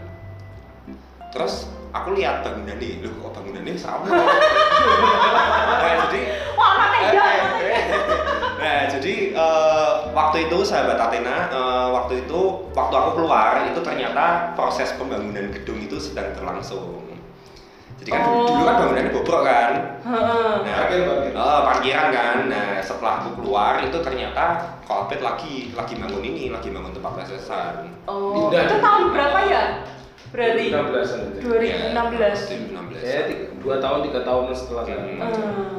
Speaker 3: terus aku lihat bangunan ini loh kok bangunan ini sama nah jadi
Speaker 1: Wah, anak tega.
Speaker 2: Eh,
Speaker 3: nah jadi eh, waktu itu sahabat Atena eh, waktu itu waktu aku keluar itu ternyata proses pembangunan gedung itu sedang berlangsung jadi kan dulu-
Speaker 1: Oh.
Speaker 3: dulu kan bangunannya bobrok kan
Speaker 1: Heeh.
Speaker 3: nah
Speaker 2: Parkir, parkir.
Speaker 3: eh, parkiran kan nah setelah aku keluar itu ternyata kolpet lagi lagi bangun ini lagi bangun tempat lesesan
Speaker 1: Oh,
Speaker 2: Pindah.
Speaker 1: itu tahun berapa ya? Berarti
Speaker 2: 16 an aja.
Speaker 1: 2016.
Speaker 2: Ya,
Speaker 3: 2016
Speaker 2: tiga, dua tahun tiga tahun setelah sana.
Speaker 3: Hmm.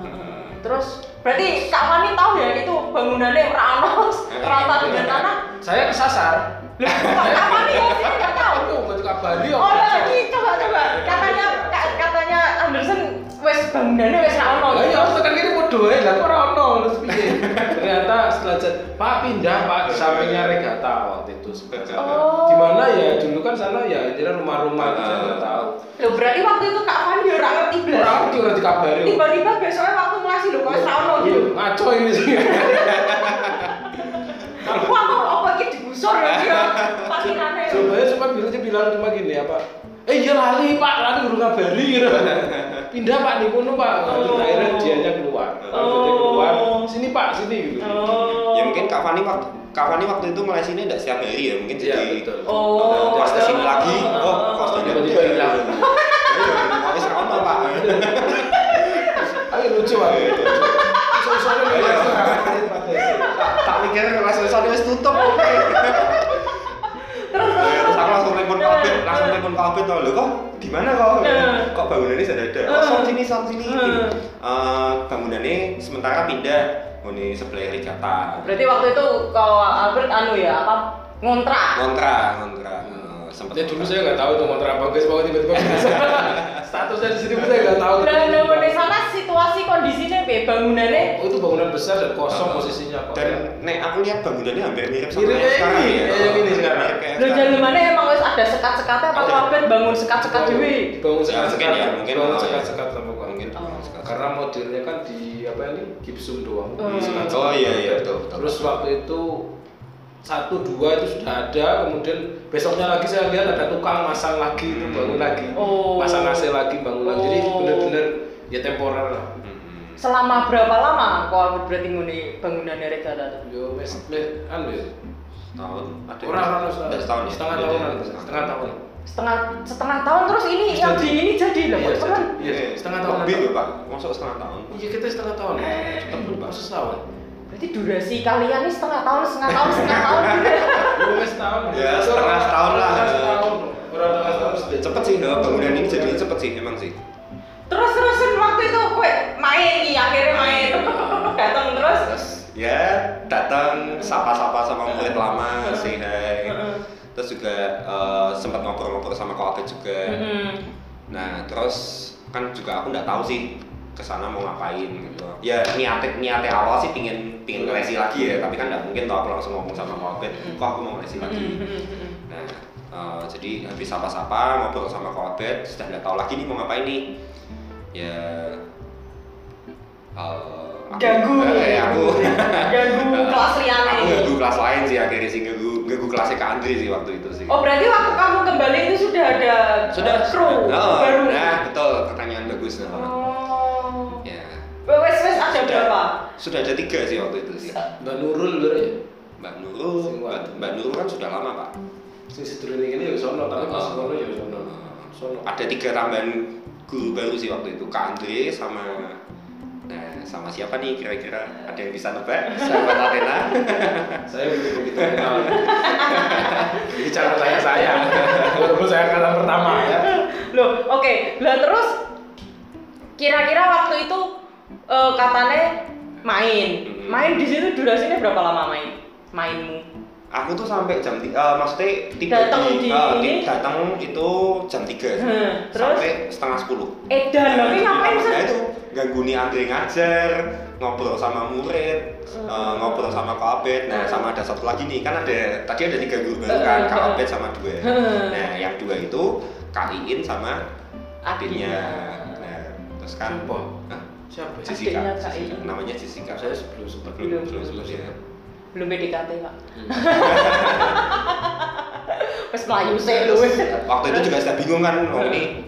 Speaker 1: Hmm. Terus berarti Kak Fani tahu ya itu bangunannya ora ono rata dengan tanah.
Speaker 2: Saya kesasar.
Speaker 1: Loh, kok Kak Fani ya sini nggak tahu.
Speaker 2: Aku bukan tukang Bali.
Speaker 3: Iya.
Speaker 1: Oh, lagi coba coba katanya ka- katanya Anderson wes bangunannya wes ra ono.
Speaker 2: Lah iya, aku tekan kiri podo ae, lah kok ora ono terus piye. Ternyata setelah jad, Pak pindah Pak di sampingnya regata waktu itu sebenarnya.
Speaker 1: Oh.
Speaker 2: Di mana ya dulu kan sana ya jadi rumah-rumah
Speaker 3: Ah.
Speaker 2: saya nggak tahu.
Speaker 1: Loh berarti waktu itu Kak Fani ya ora ngerti blas.
Speaker 2: Orang itu udah dikabari.
Speaker 1: Tiba-tiba besoknya waktu ngasih lho kok wis ra ono gitu.
Speaker 2: Ngaco ini sih.
Speaker 3: Iya.
Speaker 1: Wah, kok apa iki digusur ya dia. Pakirane.
Speaker 2: Coba ya cuma bilang bilang cuma gini apa? Eh iya lali pak, lali udah ngabari gitu. Pindah pak di kono pak. Lalu
Speaker 1: Oh.
Speaker 2: akhirnya dianya keluar. Lalu dia keluar. Sini pak, sini gitu.
Speaker 1: Oh.
Speaker 3: Ya mungkin Kak Fani waktu Kak Fani waktu itu mulai sini enggak siap hari ya, mungkin
Speaker 2: Iya
Speaker 3: jadi
Speaker 2: betul.
Speaker 1: Oh.
Speaker 3: pas ke sini lagi, oh kos
Speaker 1: Oh.
Speaker 3: tidak
Speaker 2: Tiba-tiba hilang.
Speaker 3: Habis ono Pak.
Speaker 2: Ayo lucu pak. Sore-sore
Speaker 3: Ayo.
Speaker 2: lucu.
Speaker 3: Tak pikir kelas besar wis tutup oke.
Speaker 1: Terus
Speaker 3: Terus aku langsung telepon
Speaker 1: Nah,
Speaker 3: kabit,
Speaker 1: nah.
Speaker 3: langsung telepon kabit loh. Loh, kok di mana kok?
Speaker 2: Iya.
Speaker 1: Nah.
Speaker 3: Kok bangunannya sudah ada?
Speaker 1: Nah.
Speaker 3: Oh, sound sini, sound sini.
Speaker 1: Nah.
Speaker 3: Gini. Eh, bangunannya sementara pindah ngene sebelah Rigata.
Speaker 1: Berarti waktu itu kalau Albert anu ya apa ngontrak.
Speaker 3: Kontra, kontra. Eh,
Speaker 2: Ya
Speaker 3: Sempet.
Speaker 2: dulu saya nggak tahu itu kontrak apa guys, pokoknya tiba-tiba statusnya di sini pun saya nggak tahu.
Speaker 1: Nah, nah, di sana situasi kondisinya piye bangunannya?
Speaker 2: Oh, itu bangunan besar dan kosong posisinya kok.
Speaker 3: Eh, Dan nek aku lihat bangunannya hampir mirip
Speaker 2: Mirip
Speaker 3: sama yang
Speaker 2: kayak
Speaker 3: sekarang
Speaker 2: ini,
Speaker 3: ya.
Speaker 2: kayak yang ini sekarang.
Speaker 3: Mirip kayak
Speaker 1: Lo
Speaker 3: sekarang.
Speaker 1: jalumannya emang wis ada sekat-sekatnya apa
Speaker 3: Ada.
Speaker 1: Albert bangun sekat-sekat dewi?
Speaker 2: Bangun
Speaker 3: Ya,
Speaker 2: sekat-sekat
Speaker 3: mungkin ya, mungkin.
Speaker 2: bangun
Speaker 3: Oh, ya.
Speaker 2: sekat-sekat sama kok.
Speaker 3: Mungkin
Speaker 1: Oh.
Speaker 2: Karena modelnya kan di apa ini gipsum doang.
Speaker 1: Hmm.
Speaker 2: Sekat-sekat.
Speaker 3: Oh, iya, iya, betul, betul.
Speaker 2: Terus waktu itu satu dua itu sudah ada, kemudian besoknya lagi saya lihat ada tukang masang lagi, itu
Speaker 3: Hmm.
Speaker 2: bangun lagi,
Speaker 1: Oh.
Speaker 2: pasang AC lagi, bangun lagi. Jadi
Speaker 1: Oh.
Speaker 2: benar-benar ya temporer lah.
Speaker 3: Mhm.
Speaker 1: Selama berapa lama kok Albert berarti nguni bangunannya Regata tuh?
Speaker 2: Yo, mes, mes, anu ya.
Speaker 3: tahun ada
Speaker 2: Orang orang
Speaker 3: Nggak setahun ya?
Speaker 2: setengah
Speaker 3: Beda ya?
Speaker 2: tahunan, setengah tahun.
Speaker 1: Setengah setengah tahun terus ini
Speaker 2: Terus
Speaker 1: yang
Speaker 2: jadi.
Speaker 1: di ini jadi loh,
Speaker 2: Iya,
Speaker 1: teman.
Speaker 2: jadi. Iya, setengah tahun.
Speaker 3: Lebih loh, pak masuk setengah tahun
Speaker 2: Iya kita setengah tahun, kita belum pas setahun.
Speaker 1: Berarti durasi kalian ini setengah tahun, setengah tahun, setengah tahun.
Speaker 2: Belum pas setahun.
Speaker 3: Ya, setengah setahun lah.
Speaker 2: Iya, Setengah setahun. Orang setengah setahun sudah
Speaker 3: cepet sih nah, bangunan ini jadinya cepet sih emang sih
Speaker 1: terus terusan waktu itu kue main nih akhirnya main.
Speaker 2: Iya.
Speaker 1: Datang terus.
Speaker 3: terus ya datang sapa-sapa sama murid lama say
Speaker 2: gitu.
Speaker 3: hi
Speaker 1: Heeh.
Speaker 3: terus juga eh, sempat ngobrol-ngobrol sama keluarga juga
Speaker 2: Mm-hmm.
Speaker 1: Mm-mm.
Speaker 3: nah terus kan juga aku nggak tahu sih kesana mau ngapain gitu ya niatnya niatnya awal sih pingin pingin ngelesi lagi ya tapi kan nggak mungkin toh aku langsung ngomong sama keluarga
Speaker 1: Hmm.
Speaker 3: kok aku mau ngelesi lagi
Speaker 1: Mm-mm.
Speaker 3: Nah, eh, jadi habis sapa-sapa ngobrol sama Kobet, sudah nggak tahu lagi nih mau ngapain nih. Ya eh, aku-
Speaker 1: Ganggu.
Speaker 3: eh, aku
Speaker 1: Ganggu kelas liane.
Speaker 3: aku ganggu kelas lain sih akhirnya sih ganggu ganggu kelasnya Kak Andri sih waktu itu sih.
Speaker 1: Oh berarti waktu kamu kembali itu sudah ada eh,
Speaker 3: sudah
Speaker 1: kru
Speaker 3: Oh,
Speaker 1: baru. ya?
Speaker 3: Nah, betul pertanyaan bagus. Nah.
Speaker 1: Oh.
Speaker 3: Ya.
Speaker 1: Wes wes ada
Speaker 3: Sudah-
Speaker 1: berapa?
Speaker 3: Sudah ada tiga sih waktu itu sih.
Speaker 2: Mbak Nurul lur ya.
Speaker 3: Mbak Nurul, Mbak, Mbak Nurul kan sudah lama pak.
Speaker 2: Sing sedulur ini ya sono, tapi pas sono ya sono.
Speaker 1: Hmm.
Speaker 2: Sono.
Speaker 3: ada tiga tambahan guru baru sih waktu itu Kak Andre sama nah sama siapa nih kira-kira ada yang bisa nebak sahabat Athena
Speaker 2: Saya belum begitu kenal. Jadi cara bertanya saya. Walaupun saya kalah pertama ya.
Speaker 1: Loh, oke. Lah terus kira-kira waktu itu eh, katanya main.
Speaker 3: Mhm.
Speaker 1: Main di situ durasinya berapa lama main? Mainmu.
Speaker 3: aku tuh sampai jam tiga maksudnya tiba
Speaker 1: Datang di
Speaker 3: eh, ti-
Speaker 1: ini?
Speaker 3: datang itu jam tiga sih.
Speaker 1: Hmm, terus?
Speaker 3: sampai setengah sepuluh
Speaker 1: Edan, Eh, tapi ngapain
Speaker 3: Nah,
Speaker 1: sih?
Speaker 3: itu ganggu nih Andre ngajar ngobrol sama murid
Speaker 1: Hmm.
Speaker 3: eh, ngobrol sama Kak Abed nah sama ada satu lagi nih kan ada tadi ada tiga guru baru kan Kak Abed sama dua
Speaker 1: Hmm.
Speaker 3: nah yang dua itu Kak Iin sama adiknya nah terus kan
Speaker 2: Siapa?
Speaker 3: Hah?
Speaker 2: Siapa?
Speaker 1: Sih.
Speaker 3: Jessica,
Speaker 1: Adiknya Kak
Speaker 3: Jessica.
Speaker 1: Iin.
Speaker 3: namanya Jessica
Speaker 2: Saya sebelum sempat
Speaker 3: belum belum sebelum ya
Speaker 1: Belum PDKT, Pak.
Speaker 2: Hmm.
Speaker 1: Wes melayu sih lu.
Speaker 3: waktu itu juga saya bingung kan mau ini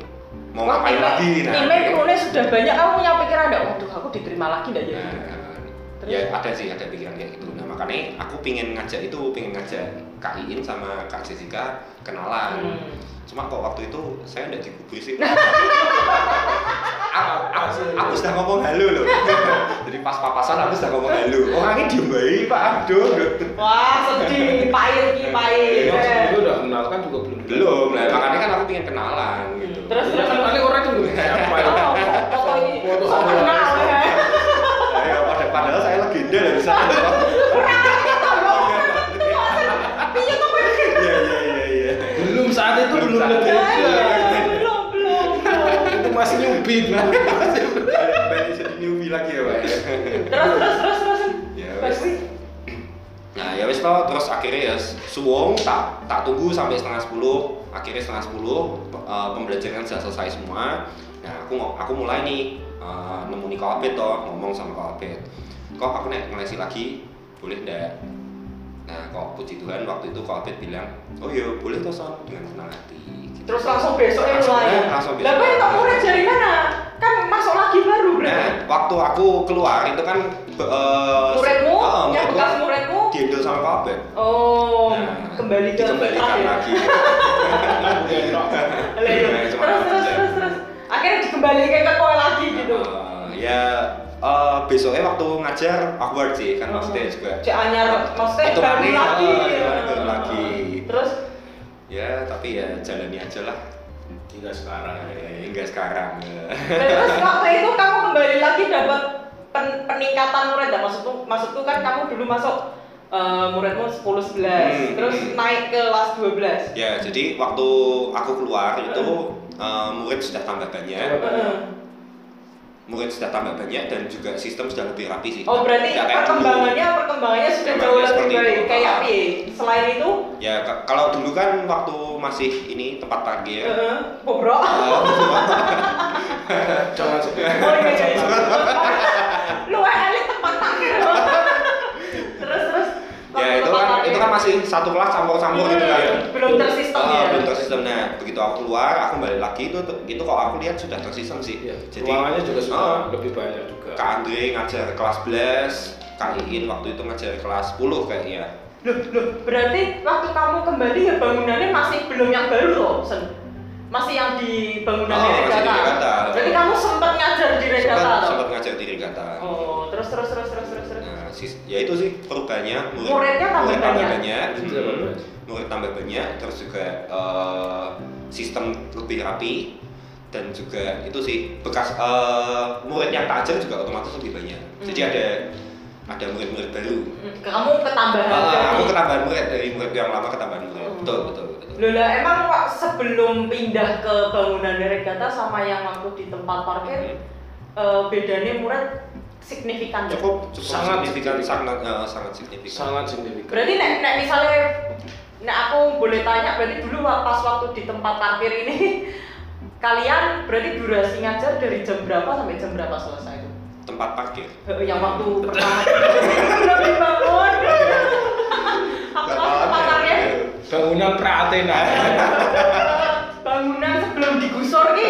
Speaker 3: mau
Speaker 1: Wah,
Speaker 3: ngapain
Speaker 1: timnya-
Speaker 3: lagi Nah, gitu.
Speaker 1: timnya krunya sudah banyak, kamu punya pikiran enggak? Waduh, aku diterima lagi enggak ya?
Speaker 3: Nah, ya ada sih ada pikiran kayak gitu nah makanya aku pingin ngajak itu pingin ngajak Kak Iin sama Kak Jessica kenalan
Speaker 1: Hmm.
Speaker 3: cuma kok waktu itu saya nggak digubris sih aku, aku, aku sudah ngomong halo loh jadi pas papasan aku sudah ngomong halo orangnya diem bayi pak aduh
Speaker 1: Wah, sedih, pahit ki pahit. Eh.
Speaker 2: Iya, sebelum udah kenal kan juga belum.
Speaker 3: belum nah makanya kan aku pengen kenalan gitu
Speaker 1: Terus
Speaker 2: Ya,
Speaker 1: terus
Speaker 2: kan paling orang tuh siapa ya?
Speaker 1: Oh, pokoknya
Speaker 2: Foto
Speaker 1: oh,
Speaker 2: sama-
Speaker 1: kenal ya.
Speaker 3: saya pada Nah, ya padahal saya legenda dari sana
Speaker 1: Kurang ngerti toh, lo. Iya, Piye to kowe?
Speaker 3: iya iya iya iya
Speaker 2: Belum saat itu belum
Speaker 3: Belum saat
Speaker 2: lebih. Iya.
Speaker 3: itu.
Speaker 1: Belum, belum, belum.
Speaker 2: Itu masih nyubi.
Speaker 3: Balik- balik jadi newbie lagi ya pak ya
Speaker 1: Terus terus terus terus.
Speaker 3: Ya,
Speaker 1: Terus,
Speaker 3: wes. Nah, Nah ya wis toh terus akhirnya ya suwung tak tak tunggu sampai setengah sepuluh akhirnya setengah sepuluh pe- eh, pembelajaran sudah selesai semua. Nah aku ngo- aku mulai nih eh, nemuni Kak Abed toh ngomong sama Kak Abed. Kok aku nek ngelesi lagi boleh ndak? Nah kok puji Tuhan waktu itu Kak Abed bilang oh iya boleh toh Son dengan senang hati. Gitu.
Speaker 1: Terus langsung besoknya
Speaker 3: Langsung,
Speaker 1: mulai.
Speaker 3: eh, langsung besok.
Speaker 1: Lah kok itu murid dari mana? Kan masuk lagi baru berarti.
Speaker 3: Nah, waktu aku keluar itu kan be- eh,
Speaker 1: Muridmu,
Speaker 3: eh,
Speaker 1: yang
Speaker 3: muridku
Speaker 1: bekas muridmu.
Speaker 3: diambil sama Kak Abed.
Speaker 1: Oh, kembali ke
Speaker 3: Nah, dikembalikan
Speaker 1: fitrah ya.
Speaker 3: lagi.
Speaker 1: Lah iya.
Speaker 3: Nah,
Speaker 1: Terus
Speaker 3: cuma-
Speaker 1: terus terus terus. Akhirnya dikembalikan ke kowe lagi gitu.
Speaker 3: Eh, ya eh, besoknya waktu ngajar awkward sih kan
Speaker 1: Oh.
Speaker 3: maksudnya juga.
Speaker 1: Cek anyar maksudnya
Speaker 3: Itu
Speaker 1: baru
Speaker 3: aneh,
Speaker 1: lagi. ya.
Speaker 3: eh, iya, baru lagi.
Speaker 1: Terus
Speaker 3: Ya tapi ya jalani aja lah.
Speaker 2: Hingga sekarang ya.
Speaker 3: Eh, Enggak sekarang.
Speaker 1: dan terus waktu itu kamu kembali lagi dapat pen- peningkatan murid dan maksudku maksudku kan kamu dulu masuk eh, muridmu 10 11
Speaker 3: Hmm.
Speaker 1: terus naik ke kelas 12.
Speaker 3: ya jadi waktu aku keluar itu eh, murid sudah tambah banyak,
Speaker 1: Heeh.
Speaker 3: murid sudah tambah banyak dan juga sistem sudah lebih rapi sih.
Speaker 1: Oh berarti
Speaker 3: Iya. Nggak kayak dulu.
Speaker 1: perkembangannya perkembangannya sudah jauh lebih
Speaker 3: Perkembangannya seperti
Speaker 1: baik
Speaker 3: itu.
Speaker 1: kayak apa? Selain itu,
Speaker 3: Ya ka- kalau dulu kan waktu masih ini tempat
Speaker 1: eh,
Speaker 3: parkir. Eh,
Speaker 1: bobrok.
Speaker 3: kan,
Speaker 2: Jangan sebut.
Speaker 1: Oh iya iya. iya. Lu elit tempat parkir. Terus terus.
Speaker 3: ya
Speaker 1: waktu
Speaker 3: itu
Speaker 1: tempat
Speaker 3: kan
Speaker 1: parkir.
Speaker 3: itu kan masih satu kelas campur-campur gitu
Speaker 2: Iya.
Speaker 3: kan.
Speaker 1: Hmm, Belum tersistem
Speaker 3: Ah,
Speaker 1: ya.
Speaker 3: belum tersistem nah begitu aku keluar aku balik lagi itu itu kalau aku lihat sudah tersistem sih
Speaker 2: Iya,
Speaker 3: jadi
Speaker 2: ruangannya juga sudah
Speaker 3: Ah.
Speaker 2: lebih banyak juga.
Speaker 3: Kak Andre ngajar kelas 11 Kak Iin waktu itu ngajar kelas 10 kayaknya
Speaker 1: Loh, loh, berarti waktu kamu kembali ya bangunannya masih belum yang baru loh, Sen. Masih yang di bangunan di
Speaker 3: Oh, masih di
Speaker 1: Regata.
Speaker 3: Regata.
Speaker 1: Berarti kamu sempat ngajar di Regata
Speaker 3: sempat
Speaker 1: loh.
Speaker 3: sempat ngajar di regata
Speaker 1: Iya, Oh, terus terus terus terus terus. terus.
Speaker 3: nah sis- ya itu sih perubahannya murid,
Speaker 1: Muridnya tambah
Speaker 3: murid tambah
Speaker 1: banyak.
Speaker 3: banyak,
Speaker 2: Murid tambah
Speaker 3: hmm,
Speaker 2: banyak.
Speaker 3: murid tambah banyak terus juga eh, sistem lebih rapi dan juga itu sih bekas eh, murid yang tak ajar juga otomatis lebih banyak jadi
Speaker 1: Hmm.
Speaker 3: ada ada murid-murid baru
Speaker 1: Hmm, Kamu ketambahan.
Speaker 3: Ah,
Speaker 1: dari-
Speaker 3: aku ketambahan murid dari murid yang lama ketambahan murid
Speaker 1: Hmm.
Speaker 3: betul betul betul
Speaker 1: Loh lah, emang Wak, sebelum pindah ke bangunan Regata sama yang waktu di tempat parkir
Speaker 3: Hmm.
Speaker 1: eh, bedanya murid signifikan nggak?
Speaker 3: cukup cukup
Speaker 2: Sangat
Speaker 3: signifikan
Speaker 2: signifikan.
Speaker 3: sangat eh, sangat signifikan
Speaker 2: Sangat signifikan.
Speaker 1: Berarti nek, nek misalnya nek aku boleh tanya berarti dulu wa- pas waktu di tempat parkir ini kalian berarti durasi ngajar dari jam berapa sampai jam berapa selesai itu?
Speaker 3: tempat parkir
Speaker 1: Eh, Yang waktu pertama lebih bangun. Aku pas
Speaker 3: ya.
Speaker 1: ke tempat parkir
Speaker 2: Bangunan pra-Athena.
Speaker 1: bangunan sebelum digusur ki.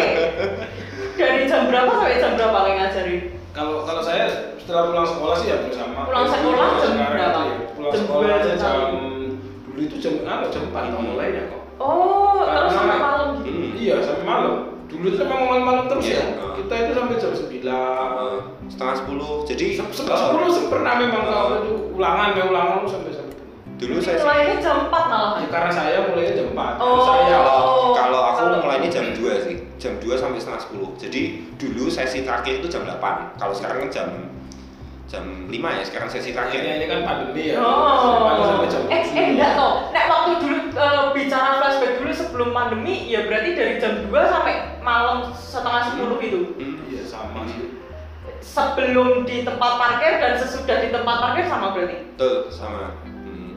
Speaker 1: Dari jam berapa sampai jam berapa kalian ngajarin?
Speaker 2: Kalau kalau saya setelah pulang sekolah sih ya hampir sama.
Speaker 1: Pulang
Speaker 2: Kayak
Speaker 1: sekolah
Speaker 2: dulu,
Speaker 1: jam
Speaker 2: sekarang
Speaker 1: berapa?
Speaker 2: itu ya. Pulang
Speaker 1: Jam
Speaker 2: sekolah
Speaker 1: dua,
Speaker 2: aja
Speaker 1: jam
Speaker 2: jam
Speaker 1: satu. Hmm.
Speaker 2: dulu itu jam apa? Jam 4 atau mulainya kok.
Speaker 1: Oh, terus
Speaker 2: Karena-
Speaker 1: sampai malam gitu.
Speaker 3: Hmm.
Speaker 2: Iya, sampai malam. Dulu itu memang malam-malam terus
Speaker 3: Iya.
Speaker 2: ya. Kita itu sampai jam 9.
Speaker 3: Eh, setengah sepuluh jadi
Speaker 2: Jam 10 sih pernah memang
Speaker 3: Eh.
Speaker 2: kalau itu ulangan, ya ulangan sampai jam 10.
Speaker 3: dulu
Speaker 1: Jadi
Speaker 3: saya sih-
Speaker 1: mulainya jam 4 malah.
Speaker 2: Ya, karena saya mulainya jam 4.
Speaker 1: Ah. Oh.
Speaker 2: Saya
Speaker 3: kalau Eh, kalau aku
Speaker 1: Kalau-
Speaker 3: mulainya jam 2 sih jam 2 sampai setengah 10 jadi dulu sesi terakhir itu jam 8 kalau sekarang kan jam jam 5 ya sekarang sesi terakhir
Speaker 2: akhirnya ini kan pandemi ya. Paling
Speaker 1: Oh,
Speaker 2: sampai jam
Speaker 1: eh, eh
Speaker 2: 10.
Speaker 1: enggak toh. Nek waktu dulu eh, bicara flashback dulu sebelum pandemi, ya berarti dari jam 2 sampai malam setengah 10 itu.
Speaker 3: Hmm,
Speaker 2: Iya, sama sih.
Speaker 1: Sebelum di tempat parkir dan sesudah di tempat parkir sama berarti.
Speaker 3: betul sama Hmm.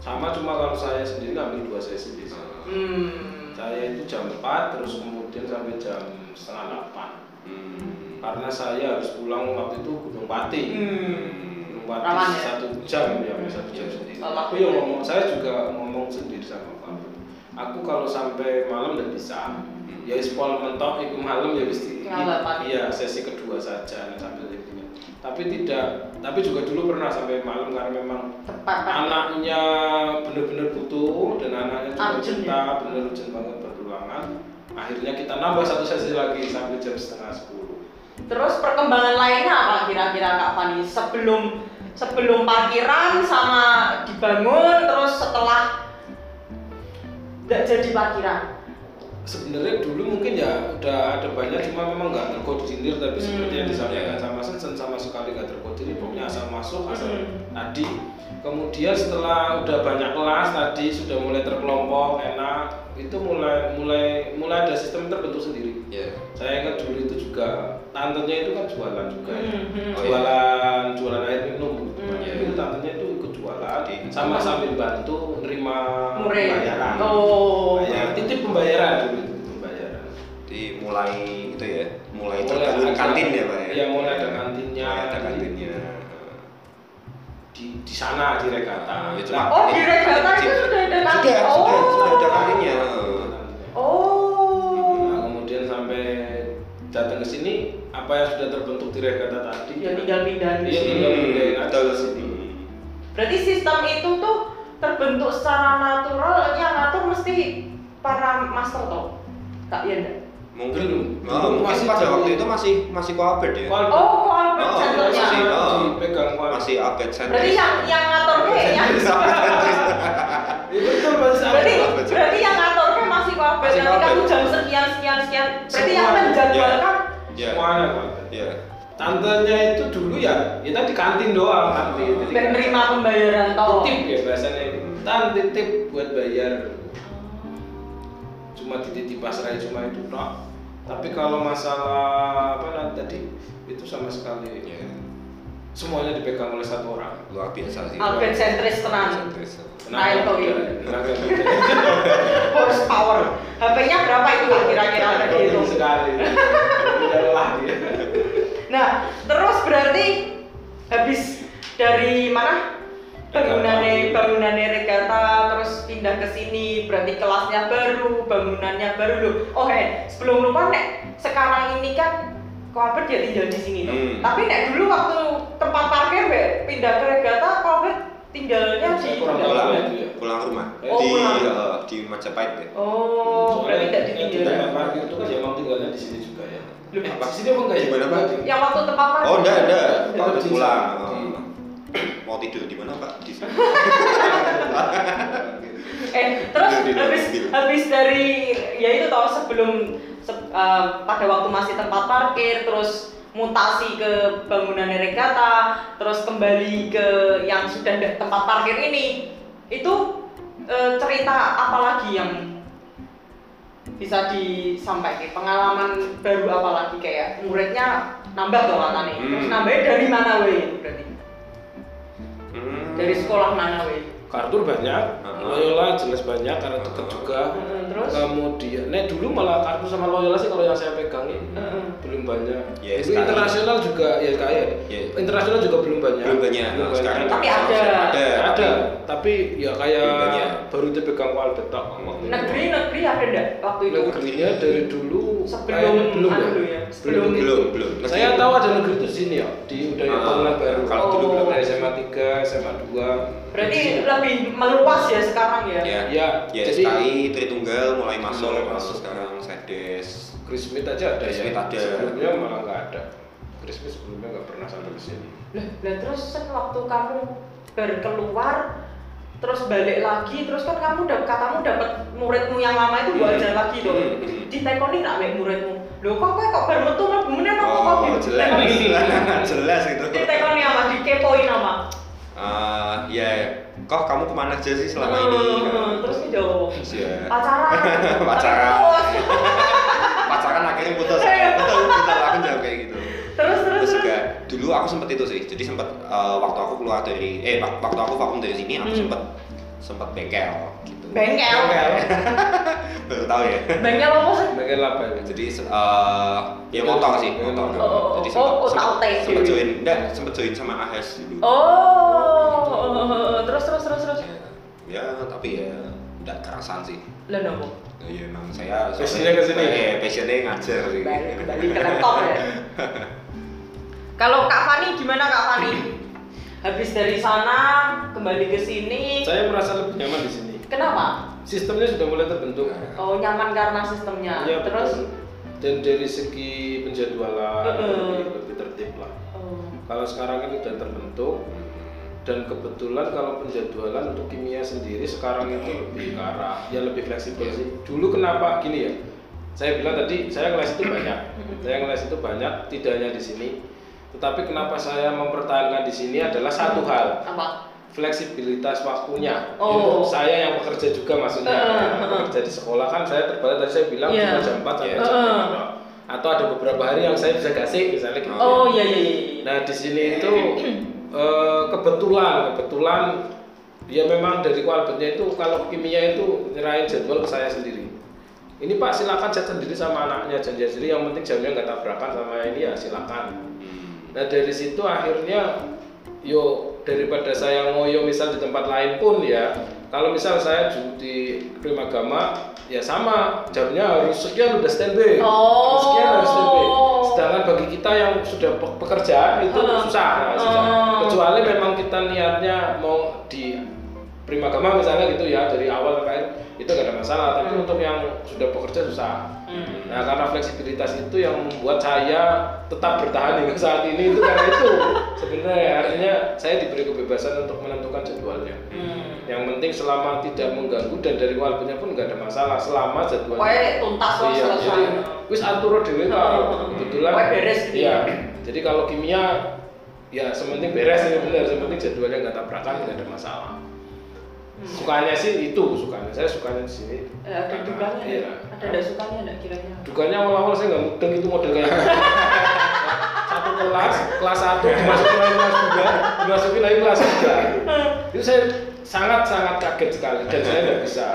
Speaker 2: Sama cuma kalau saya sendiri ngambil dua sesi di sana.
Speaker 1: Hmm.
Speaker 2: Saya itu jam 4 terus kemudian sampai jam setengah 8
Speaker 3: Hmm.
Speaker 2: karena saya harus pulang waktu itu Gunung Pati.
Speaker 1: Hmm.
Speaker 2: Gunung Pati
Speaker 1: Rawan ya? Iya,
Speaker 2: satu jam ya, satu jam sendiri.
Speaker 1: Lelah.
Speaker 2: Aku yang ngomong, saya juga ngomong sendiri sama kamu. Aku kalau sampai malam udah bisa.
Speaker 1: Hmm.
Speaker 2: Ya sepol mentok itu malam ya mesti.
Speaker 1: Ngalapan.
Speaker 2: Iya sesi kedua saja sampai liburnya. Tapi tidak, tapi juga dulu pernah sampai malam karena memang
Speaker 1: Tempat parkir.
Speaker 2: anaknya benar-benar butuh dan anaknya juga
Speaker 1: Urgent
Speaker 2: cinta benar urgent banget berpeluangan akhirnya kita nambah satu sesi lagi sampai jam setengah sepuluh
Speaker 1: Terus perkembangan lainnya apa kira-kira Kak Fani sebelum sebelum parkiran sama dibangun terus setelah nggak jadi parkiran.
Speaker 2: sebenarnya dulu mungkin ya udah ada banyak cuma memang nggak terkoordinir tapi
Speaker 1: Hmm.
Speaker 2: seperti yang disampaikan sama Sensen sama sekali nggak terkoordinir pokoknya asal masuk asal
Speaker 1: Hmm.
Speaker 2: tadi kemudian setelah udah banyak kelas tadi sudah mulai terkelompok enak itu mulai mulai mulai ada sistem terbentuk sendiri
Speaker 3: Ya.
Speaker 2: saya ingat dulu itu juga tantenya itu kan jualan juga ya.
Speaker 1: Hmm, hmm.
Speaker 2: jualan jualan air minum
Speaker 1: Hmm.
Speaker 2: ya itu tantenya itu ikut jualan
Speaker 3: Mbak Adi.
Speaker 2: sama sambil bantu nerima
Speaker 1: murid
Speaker 2: pembayaran.
Speaker 1: oh
Speaker 2: Pembayaran, titip pembayaran dulu, pembayaran.
Speaker 3: dimulai itu ya mulai
Speaker 2: Mulai
Speaker 3: terbangun
Speaker 2: ada-
Speaker 3: kantin ya pak ya
Speaker 2: iya, mulai ada kantinnya.
Speaker 3: mulai ada kantinnya
Speaker 2: Di, di sana di Nah, regata.
Speaker 3: Ya, cuma-
Speaker 1: oh di regata itu sudah ada
Speaker 3: sudah
Speaker 1: kantin oh
Speaker 2: eh,
Speaker 3: sudah sudah ada kantinnya
Speaker 1: oh
Speaker 2: ya? Nah, kemudian sampai datang ke sini apa yang sudah terbentuk di regata tadi
Speaker 1: ya tinggal pindah di
Speaker 2: Iya,
Speaker 1: sini.
Speaker 2: tinggal pindahin aja
Speaker 3: Hmm, betul
Speaker 2: ke sini.
Speaker 1: berarti sistem itu tuh terbentuk secara natural yang ngatur mesti para master toh kak Yanda
Speaker 3: mungkin
Speaker 2: Belum. Belum,
Speaker 3: oh, mungkin
Speaker 2: masih
Speaker 3: pada
Speaker 2: jauh.
Speaker 3: waktu itu masih masih koabed ya
Speaker 2: Kualbe-
Speaker 1: oh kok Albert
Speaker 3: Oh,
Speaker 1: centernya
Speaker 3: masih, oh.
Speaker 2: dipegang Kualbe.
Speaker 3: masih ah. abed
Speaker 1: berarti yang yang ngatur kayaknya
Speaker 3: iya.
Speaker 2: Iya, betul masih ada.
Speaker 1: berarti
Speaker 3: Albert Center.
Speaker 1: berarti yang ngatur kan masih kuabel
Speaker 3: Masih
Speaker 1: nanti kamu
Speaker 3: Albert.
Speaker 1: jam sekian sekian sekian berarti
Speaker 2: Semua,
Speaker 1: yang kan menjadwalkan
Speaker 3: ya
Speaker 2: semuanya Kualbe.
Speaker 3: ya
Speaker 2: Tantenya itu dulu ya, ya tadi kantin doang kantin. Jadi
Speaker 1: dan menerima pembayaran toh
Speaker 2: titip ya bahasanya. Tan titip buat bayar. Cuma dititip pasrah cuma itu toh. Tapi kalau masalah apa nah, tadi itu sama sekali
Speaker 3: ya
Speaker 2: semuanya dipegang oleh satu orang.
Speaker 3: luar biasa sih
Speaker 1: Albert sentris tenan
Speaker 3: Sentris.
Speaker 1: Nah, itu ya.
Speaker 2: muda, tenaga muda.
Speaker 1: horsepower HP-nya berapa itu Kak, kira-kira tadi itu
Speaker 2: Betul sekali. Udah lelah dia.
Speaker 1: Nah, terus berarti habis dari mana? Bangunannya,
Speaker 2: Regata.
Speaker 1: bangunannya regata, terus pindah ke sini, berarti kelasnya baru, bangunannya baru loh. Oh, eh, sebelum lupa nek sekarang ini kan Kolbert ya tinggal di sini loh.
Speaker 3: Hmm.
Speaker 1: Tapi nek dulu waktu tempat parkir Mbak, pindah ke regata, Kolbert tinggalnya di
Speaker 2: Saya kurang tahu
Speaker 3: pulang
Speaker 2: Itu ya.
Speaker 3: pulang rumah
Speaker 1: Oh,
Speaker 3: di
Speaker 1: pulang.
Speaker 3: eh, di Majapahit ya
Speaker 1: Oh, berarti tidak
Speaker 2: Soalnya yang
Speaker 1: ditinggal.
Speaker 2: Tidak ada parkir itu kan emang tinggalnya di sini juga ya.
Speaker 1: Loh,
Speaker 2: Eh, di sini apa enggak ya?
Speaker 3: Gimana, Pak?
Speaker 1: Yang waktu tempat parkir.
Speaker 3: Oh, enggak, enggak. Pak
Speaker 2: Itu
Speaker 3: udah
Speaker 2: di-
Speaker 3: pulang.
Speaker 2: di-
Speaker 3: Oh. Mau tidur di mana, Pak? Di sini.
Speaker 1: Eh, terus
Speaker 3: Di- di dalam
Speaker 1: habis
Speaker 3: mobil.
Speaker 1: habis dari ya itu toh sebelum se- eh, pada waktu masih tempat parkir terus mutasi ke bangunan regata terus kembali ke yang sudah ada tempat parkir ini itu eh, cerita apa lagi yang bisa disampaikan pengalaman baru apa lagi kayak muridnya nambah tuh katanya terus
Speaker 3: Hmm.
Speaker 1: nambahnya dari mana weh berarti
Speaker 3: Hmm.
Speaker 1: dari sekolah mana weh
Speaker 2: Kartur banyak,
Speaker 3: Heeh.
Speaker 2: Loyola jelas banyak karena deket
Speaker 3: Heeh.
Speaker 2: juga.
Speaker 1: Heeh, terus?
Speaker 2: Kemudian, nek dulu malah kartu sama Loyola sih kalau yang saya pegangin
Speaker 1: Heeh.
Speaker 2: belum banyak.
Speaker 3: Ya,
Speaker 2: Itu
Speaker 3: sekali.
Speaker 2: internasional juga ya kayak
Speaker 3: Ya.
Speaker 2: internasional juga belum banyak.
Speaker 3: Belum banyak. Nah, sekarang
Speaker 1: Tapi
Speaker 3: sama-
Speaker 1: ada.
Speaker 3: Ada.
Speaker 2: ada, tapi ya kayak
Speaker 3: Belum banyak.
Speaker 2: baru dipegang wal betok.
Speaker 3: Oh,
Speaker 2: waktu
Speaker 3: iya.
Speaker 2: itu.
Speaker 1: negeri negeri ada enggak waktu itu
Speaker 2: Negerinya dari dulu
Speaker 1: sebelum
Speaker 2: kayaknya belum
Speaker 1: anu
Speaker 2: ya.
Speaker 1: dulu ya
Speaker 3: Belum,
Speaker 1: itu.
Speaker 3: belum, belum.
Speaker 2: Saya tahu ada negeri itu di sini ya, di udah
Speaker 3: Ah,
Speaker 2: bangunan baru.
Speaker 3: kalau
Speaker 1: dulu belum
Speaker 2: dari
Speaker 1: ada.
Speaker 2: SMA 3, SMA 2.
Speaker 1: Oh. berarti
Speaker 3: Iya.
Speaker 1: lebih meluas ya sekarang ya
Speaker 3: Ya.
Speaker 2: Ya,
Speaker 3: Ya,
Speaker 2: jadi-
Speaker 3: SKI, Tritunggal mulai masuk,
Speaker 2: Mulai masuk.
Speaker 3: masuk sekarang Sekdes.
Speaker 2: Chris Smith aja ada
Speaker 3: Chris
Speaker 2: ya.
Speaker 3: Smith ada.
Speaker 2: Sebelumnya malah nggak ada. Chris Smith sebelumnya nggak pernah sampai ke sini.
Speaker 1: lah, lah terus kan waktu kamu baru keluar terus balik lagi terus kan kamu udah katamu dapat muridmu yang lama itu gua
Speaker 3: Hmm.
Speaker 1: ajar lagi dong
Speaker 3: Hmm, hmm.
Speaker 1: ditekoni nak mek muridmu lho kok kowe kok baru metu mlebu meneh kok kok
Speaker 3: Oh,
Speaker 1: di-
Speaker 3: jelas, jelas, jelas gitu. itu.
Speaker 1: ditekoni sama dikepoin sama
Speaker 3: Eh, ya, kok kamu kemana aja sih selama ini? Kan?
Speaker 1: Hmm, terus Ah. ki jawab
Speaker 3: Ya.
Speaker 1: pacaran
Speaker 3: Pacaran.
Speaker 1: Terus-
Speaker 3: Pacaran akhirnya putus. Betul, betul, aku jawab kayak gitu.
Speaker 1: Iya, terus terus
Speaker 3: terus
Speaker 1: terus
Speaker 3: juga dulu aku sempet itu sih jadi sempet eh, waktu aku keluar dari eh wak- waktu aku vakum dari sini aku
Speaker 1: Hmm.
Speaker 3: sempet sempet bengkel gitu
Speaker 1: bengkel
Speaker 3: baru tahu ya
Speaker 1: bengkel apa sih
Speaker 2: Bagian laba ya.
Speaker 3: jadi se- eh, ya motor sih motor
Speaker 2: Oh,
Speaker 1: oh, oh.
Speaker 3: jadi
Speaker 1: Oh, otak-otak
Speaker 3: sempet sempet, sempet
Speaker 1: gitu.
Speaker 3: join enggak sempet join sama Ahes dulu
Speaker 1: Oh, terus terus terus terus.
Speaker 3: ya, ya, tapi ya enggak kerasan sih
Speaker 1: Lah nopo?
Speaker 3: Nah, ya emang saya
Speaker 2: Passionnya ke sini?
Speaker 3: Eh, passionnya ngajar sih
Speaker 1: Balik kembali ke laptop ya. Kalau Kak Fani gimana Kak Fani? Habis dari sana kembali ke sini.
Speaker 2: Saya merasa lebih nyaman di sini.
Speaker 1: Kenapa?
Speaker 2: Sistemnya sudah mulai terbentuk.
Speaker 3: Nah.
Speaker 1: Oh, nyaman karena sistemnya.
Speaker 2: Ya,
Speaker 1: Nah, terus
Speaker 2: betul. Dan dari segi penjadwalan
Speaker 1: Heeh.
Speaker 2: lebih, lebih tertib lah.
Speaker 1: oh,
Speaker 2: Kalau sekarang kan sudah terbentuk dan kebetulan kalau penjadwalan untuk kimia sendiri sekarang itu lebih ke arah ya lebih fleksibel sih.
Speaker 1: Iya.
Speaker 2: Dulu kenapa gini ya? Saya bilang tadi saya ngeles itu banyak.
Speaker 1: Mm-hmm.
Speaker 2: Saya ngeles itu banyak tidak hanya di sini. Tetapi kenapa saya mempertahankan di sini adalah satu hal,
Speaker 1: Mm-hmm. apa?
Speaker 2: fleksibilitas waktunya.
Speaker 1: Oh.
Speaker 2: Itu saya yang pekerja juga maksudnya.
Speaker 1: Eh, eh, eh.
Speaker 2: Pekerja di sekolah kan saya terbatas tadi saya bilang
Speaker 1: Iya.
Speaker 2: cuma jam 4 sampai
Speaker 3: Iya.
Speaker 2: jam
Speaker 1: Eh, eh.
Speaker 2: 5. Atau ada beberapa hari yang saya bisa gasik misalnya gitu.
Speaker 1: Oh, iya iya iya. iya.
Speaker 2: Nah di sini itu eh, kebetulan kebetulan Ya memang dari kualbetnya itu kalau kimia itu nyerahin jadwal ke saya sendiri. Ini Pak silakan cat sendiri sama anaknya janjian sendiri yang penting jamnya nggak tabrakan sama ini ya silakan. Nah dari situ akhirnya yo daripada saya ngoyo misal di tempat lain pun ya kalau misal saya ju- di Primagama ya sama jamnya harus sekian udah standby
Speaker 1: Oh.
Speaker 2: harus sekian harus standby sedangkan bagi kita yang sudah pe- pekerjaan itu
Speaker 1: Ah.
Speaker 2: susah, susah.
Speaker 1: Ah.
Speaker 2: kecuali memang kita niatnya mau di Primagama misalnya gitu ya dari awal sampai akhir, itu gak ada masalah tapi
Speaker 1: Hmm.
Speaker 2: untuk yang sudah bekerja susah
Speaker 1: Hmm.
Speaker 2: Nah, karena fleksibilitas itu yang membuat saya tetap bertahan hingga saat ini itu karena itu sebenarnya artinya saya diberi kebebasan untuk menentukan jadwalnya.
Speaker 1: Hmm.
Speaker 2: Yang penting selama tidak mengganggu dan dari walpunya pun nggak ada masalah selama jadwalnya.
Speaker 1: Pokoknya tuntas lah
Speaker 2: Iya,
Speaker 1: selesai. Hmm.
Speaker 2: jadi wis atur dhewe Pak. Kebetulan.
Speaker 1: Pokoknya Hmm. beres gitu
Speaker 2: Iya.
Speaker 1: ya.
Speaker 2: Jadi kalau kimia ya sementing beres ini benar, sementing jadwalnya nggak tabrakan nggak ada masalah. Sukanya sih itu, sukanya saya sukanya di sini.
Speaker 1: Hmm. Eh, Ada
Speaker 2: Karena-
Speaker 1: dukanya ya?
Speaker 2: iya.
Speaker 1: Ada nggak sukanya nggak kiranya?
Speaker 2: Dukanya awal-awal saya nggak mudeng itu model kayak gitu. satu kelas, kelas satu dimasukin lagi kelas tiga, dimasukin lagi kelas tiga. Itu saya sangat-sangat kaget sekali dan saya nggak bisa.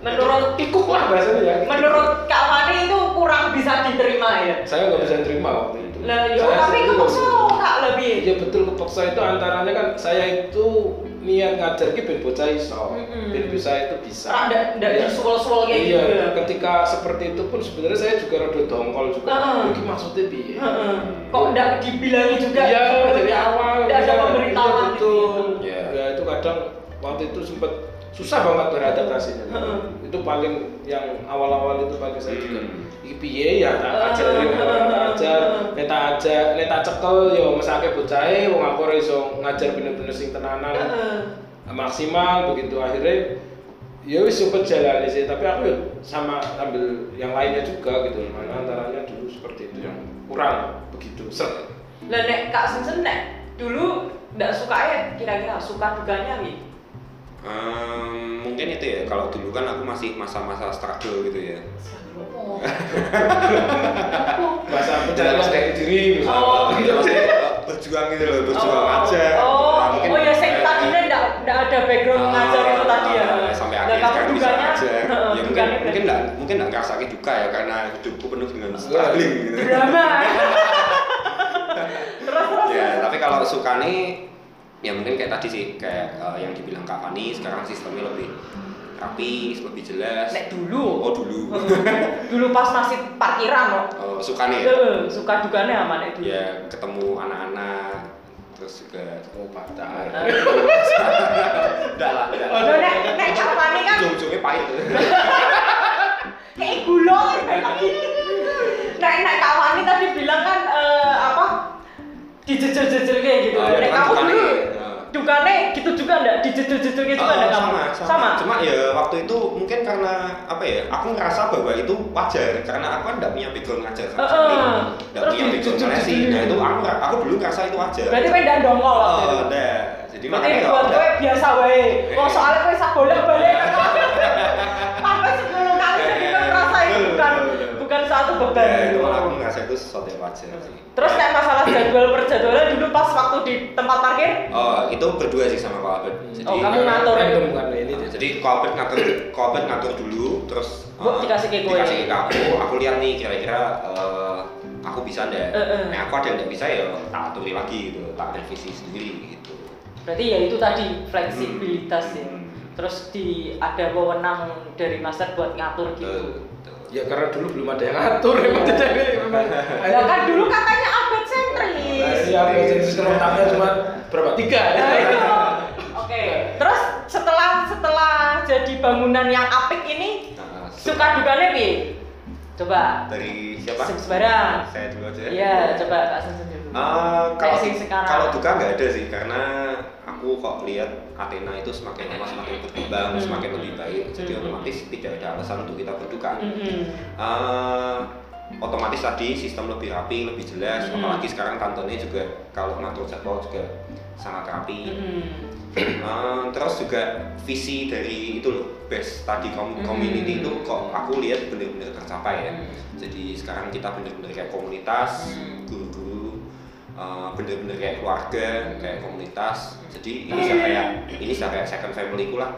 Speaker 1: Menurut-
Speaker 2: tikuk lah bahasanya ya.
Speaker 1: Menurut Kak Fani itu kurang bisa diterima ya?
Speaker 2: saya nggak bisa terima waktu itu.
Speaker 1: Lah, yo,
Speaker 2: Saya
Speaker 1: tapi
Speaker 2: sendiri
Speaker 1: kepaksa
Speaker 2: nggak bisa.
Speaker 1: Kak lebih.
Speaker 2: Iya betul kepaksa itu antaranya kan saya itu niat ngajar ki ben bocah iso,
Speaker 1: Mm-mm.
Speaker 2: ben bisa itu bisa.
Speaker 1: Ra- ndak- ndak
Speaker 2: Iya.
Speaker 1: disuwel-suwel kayak
Speaker 2: Iya,
Speaker 1: gitu ya.
Speaker 2: ketika seperti itu pun sebenarnya saya juga rada dongkol juga.
Speaker 1: Heeh.
Speaker 2: Ini maksudnya piye?
Speaker 1: Heeh.
Speaker 3: Iya.
Speaker 1: Kok nggak dibilangi juga? Iya,
Speaker 2: Iya, dari awal.
Speaker 1: Nggak ada
Speaker 2: ya,
Speaker 1: pemberitahuan
Speaker 2: Itu,
Speaker 1: gitu.
Speaker 3: Iya.
Speaker 2: Ya itu kadang waktu itu sempat susah banget beradaptasinya.
Speaker 1: Heeh.
Speaker 2: Itu paling yang awal-awal itu paling saya juga.
Speaker 3: Hmm.
Speaker 2: Iki piye ya tak
Speaker 1: Heeh,
Speaker 2: ajarin,
Speaker 1: heeh,
Speaker 2: tak ajar,
Speaker 1: heeh.
Speaker 2: nek tak ajar, nek tak cekel yo mesake bocahe wong aku ora iso ngajar bener-bener sing tenanan
Speaker 1: Heeh.
Speaker 2: maksimal begitu akhirnya ya wis sempet jalani sih tapi aku ya sama ambil yang lainnya juga gitu mana antaranya dulu seperti itu yang kurang begitu set
Speaker 1: Lah nek Kak Sinsen nek dulu ndak suka ya kira-kira suka dukanya gitu.
Speaker 3: Hmm. Em, mungkin itu ya kalau dulu kan aku masih masa-masa struggle gitu ya
Speaker 2: bahasa pencarian dari diri misalnya.
Speaker 1: Oh.
Speaker 3: Iya, maksudnya berjuang gitu loh berjuang
Speaker 1: Oh,
Speaker 3: aja
Speaker 1: Oh,
Speaker 3: Nah, mungkin-
Speaker 1: oh ya sing tadinya ndak ndak ada background
Speaker 3: Ah, eh,
Speaker 1: ngajar itu tadi ya.
Speaker 3: sampai
Speaker 1: Lah,
Speaker 3: akhirnya
Speaker 1: kamu
Speaker 3: sekarang bisa
Speaker 1: dukanya,
Speaker 3: aja
Speaker 1: heeh,
Speaker 3: ya
Speaker 1: dukanya
Speaker 3: mungkin
Speaker 1: gitu.
Speaker 3: mungkin
Speaker 1: berarti
Speaker 3: nggak mungkin nggak ngerasa duka ya karena hidupku penuh dengan
Speaker 1: Iya.
Speaker 3: struggling gitu
Speaker 1: drama. terus terus.
Speaker 3: ya tapi kalau suka nih ya mungkin kayak tadi sih kayak eh, yang dibilang kak Fani sekarang sistemnya lebih rapi lebih jelas
Speaker 1: Nek dulu.
Speaker 3: oh dulu
Speaker 1: dulu pas masih parkiran loh.
Speaker 3: oh, suka nih ya.
Speaker 1: Heeh, suka dukanya sama nek dulu.
Speaker 3: ya ketemu anak-anak terus juga ya,
Speaker 1: Nah,
Speaker 2: oh patah
Speaker 1: Ah.
Speaker 3: enggak lah enggak lah.
Speaker 1: Loh, nek nek Kak Fani kan
Speaker 3: ujung-ujungnya pahit
Speaker 1: kayak gulung lagi. Nah, nek Kak Fani tadi bilang kan eh, apa dijejer-jejer kayak gitu.
Speaker 3: Ah, ya,
Speaker 1: nek
Speaker 3: kan
Speaker 1: kamu
Speaker 3: dukanya,
Speaker 1: dulu
Speaker 3: ya.
Speaker 1: dukane gitu juga enggak dijejer-jejer kayak juga enggak
Speaker 3: Eh,
Speaker 1: kamu?
Speaker 3: sama, sama, Cuma ya waktu itu mungkin karena apa ya? Aku ngerasa bahwa itu wajar karena aku kan nggak punya background ngajar sama
Speaker 1: Eh,
Speaker 3: sekali.
Speaker 1: eh.
Speaker 3: Nggak
Speaker 1: Terus
Speaker 3: punya background
Speaker 1: dicuci-cuci
Speaker 3: sih.
Speaker 1: dulu.
Speaker 3: Nah itu aku nggak- aku dulu ngerasa itu wajar.
Speaker 1: Berarti kowe ndak dongkol
Speaker 3: Oh,
Speaker 1: waktu itu.
Speaker 3: nggak. Jadi
Speaker 1: Berarti
Speaker 3: makanya
Speaker 1: buat
Speaker 3: nggak-
Speaker 1: kowe biasa wae. Wong
Speaker 3: Eh.
Speaker 1: soalnya kowe sak bolak-balik. Pas kowe 10 kali jadi kowe merasa itu
Speaker 3: Betul,
Speaker 1: bukan
Speaker 3: betul, betul.
Speaker 1: bukan suatu beban.
Speaker 3: Ya, itu
Speaker 1: gitu.
Speaker 3: aku ngerasa itu sesuatu yang wajar sih. Iya.
Speaker 1: Terus kayak masalah jadwal perjadwalan dulu pas waktu di tempat parkir
Speaker 3: Oh, itu berdua sih sama Pak Albert. Jadi,
Speaker 1: Oh, kamu ngatur.
Speaker 2: random kan ini
Speaker 3: Nah, jadi Kobet ngatur Kobet ngatur dulu terus
Speaker 1: Bu,
Speaker 3: eh,
Speaker 1: dikasih ke gue.
Speaker 3: dikasih ke aku aku lihat nih kira-kira eh, aku bisa ndak
Speaker 1: Eh, eh.
Speaker 3: nah aku ada yang nggak bisa ya tak aturi lagi gitu tak revisi sendiri gitu
Speaker 1: berarti ya itu tadi fleksibilitas ya.
Speaker 3: Hmm.
Speaker 1: Terus di ada wewenang dari master buat ngatur gitu.
Speaker 3: Betul, betul.
Speaker 2: ya karena dulu belum ada yang ngatur emang jadi memang
Speaker 1: Lah kan dulu kan katanya update sentris.
Speaker 2: ya sistem otaknya cuma berapa tiga ya
Speaker 1: Nah, itu. Oke. Terus setelah setelah jadi bangunan yang apik ini
Speaker 3: Nah, su-
Speaker 1: suka dukanya piye? Coba.
Speaker 3: dari siapa
Speaker 1: Sem- sembarang.
Speaker 3: saya dulu aja
Speaker 1: Iya, coba Kak Sensen dulu.
Speaker 3: Eh, kalau
Speaker 1: Kayak sing sekarang.
Speaker 3: kalau duka nggak ada sih karena aku kok lihat Athena itu semakin lama semakin berkembang
Speaker 1: Hmm.
Speaker 3: semakin lebih baik jadi
Speaker 1: Hmm.
Speaker 3: otomatis tidak ada alasan untuk kita berduka
Speaker 1: Mm-mm.
Speaker 3: Eh, otomatis tadi sistem lebih rapi, lebih jelas.
Speaker 1: Mm.
Speaker 3: Apalagi sekarang kantornya juga kalau ngatur jadwal juga sangat rapi.
Speaker 1: Mm-mm.
Speaker 3: Eh, terus juga visi dari itu loh, best tadi kom-
Speaker 1: Mm.
Speaker 3: community itu kok aku lihat benar-benar tercapai ya.
Speaker 1: Mm.
Speaker 3: Jadi sekarang kita benar-benar kayak komunitas,
Speaker 1: Mm.
Speaker 3: guru-guru, eh, bener-bener kayak keluarga, kayak komunitas. Jadi ini sudah kayak ini sudah kayak second family ku lah. Nah,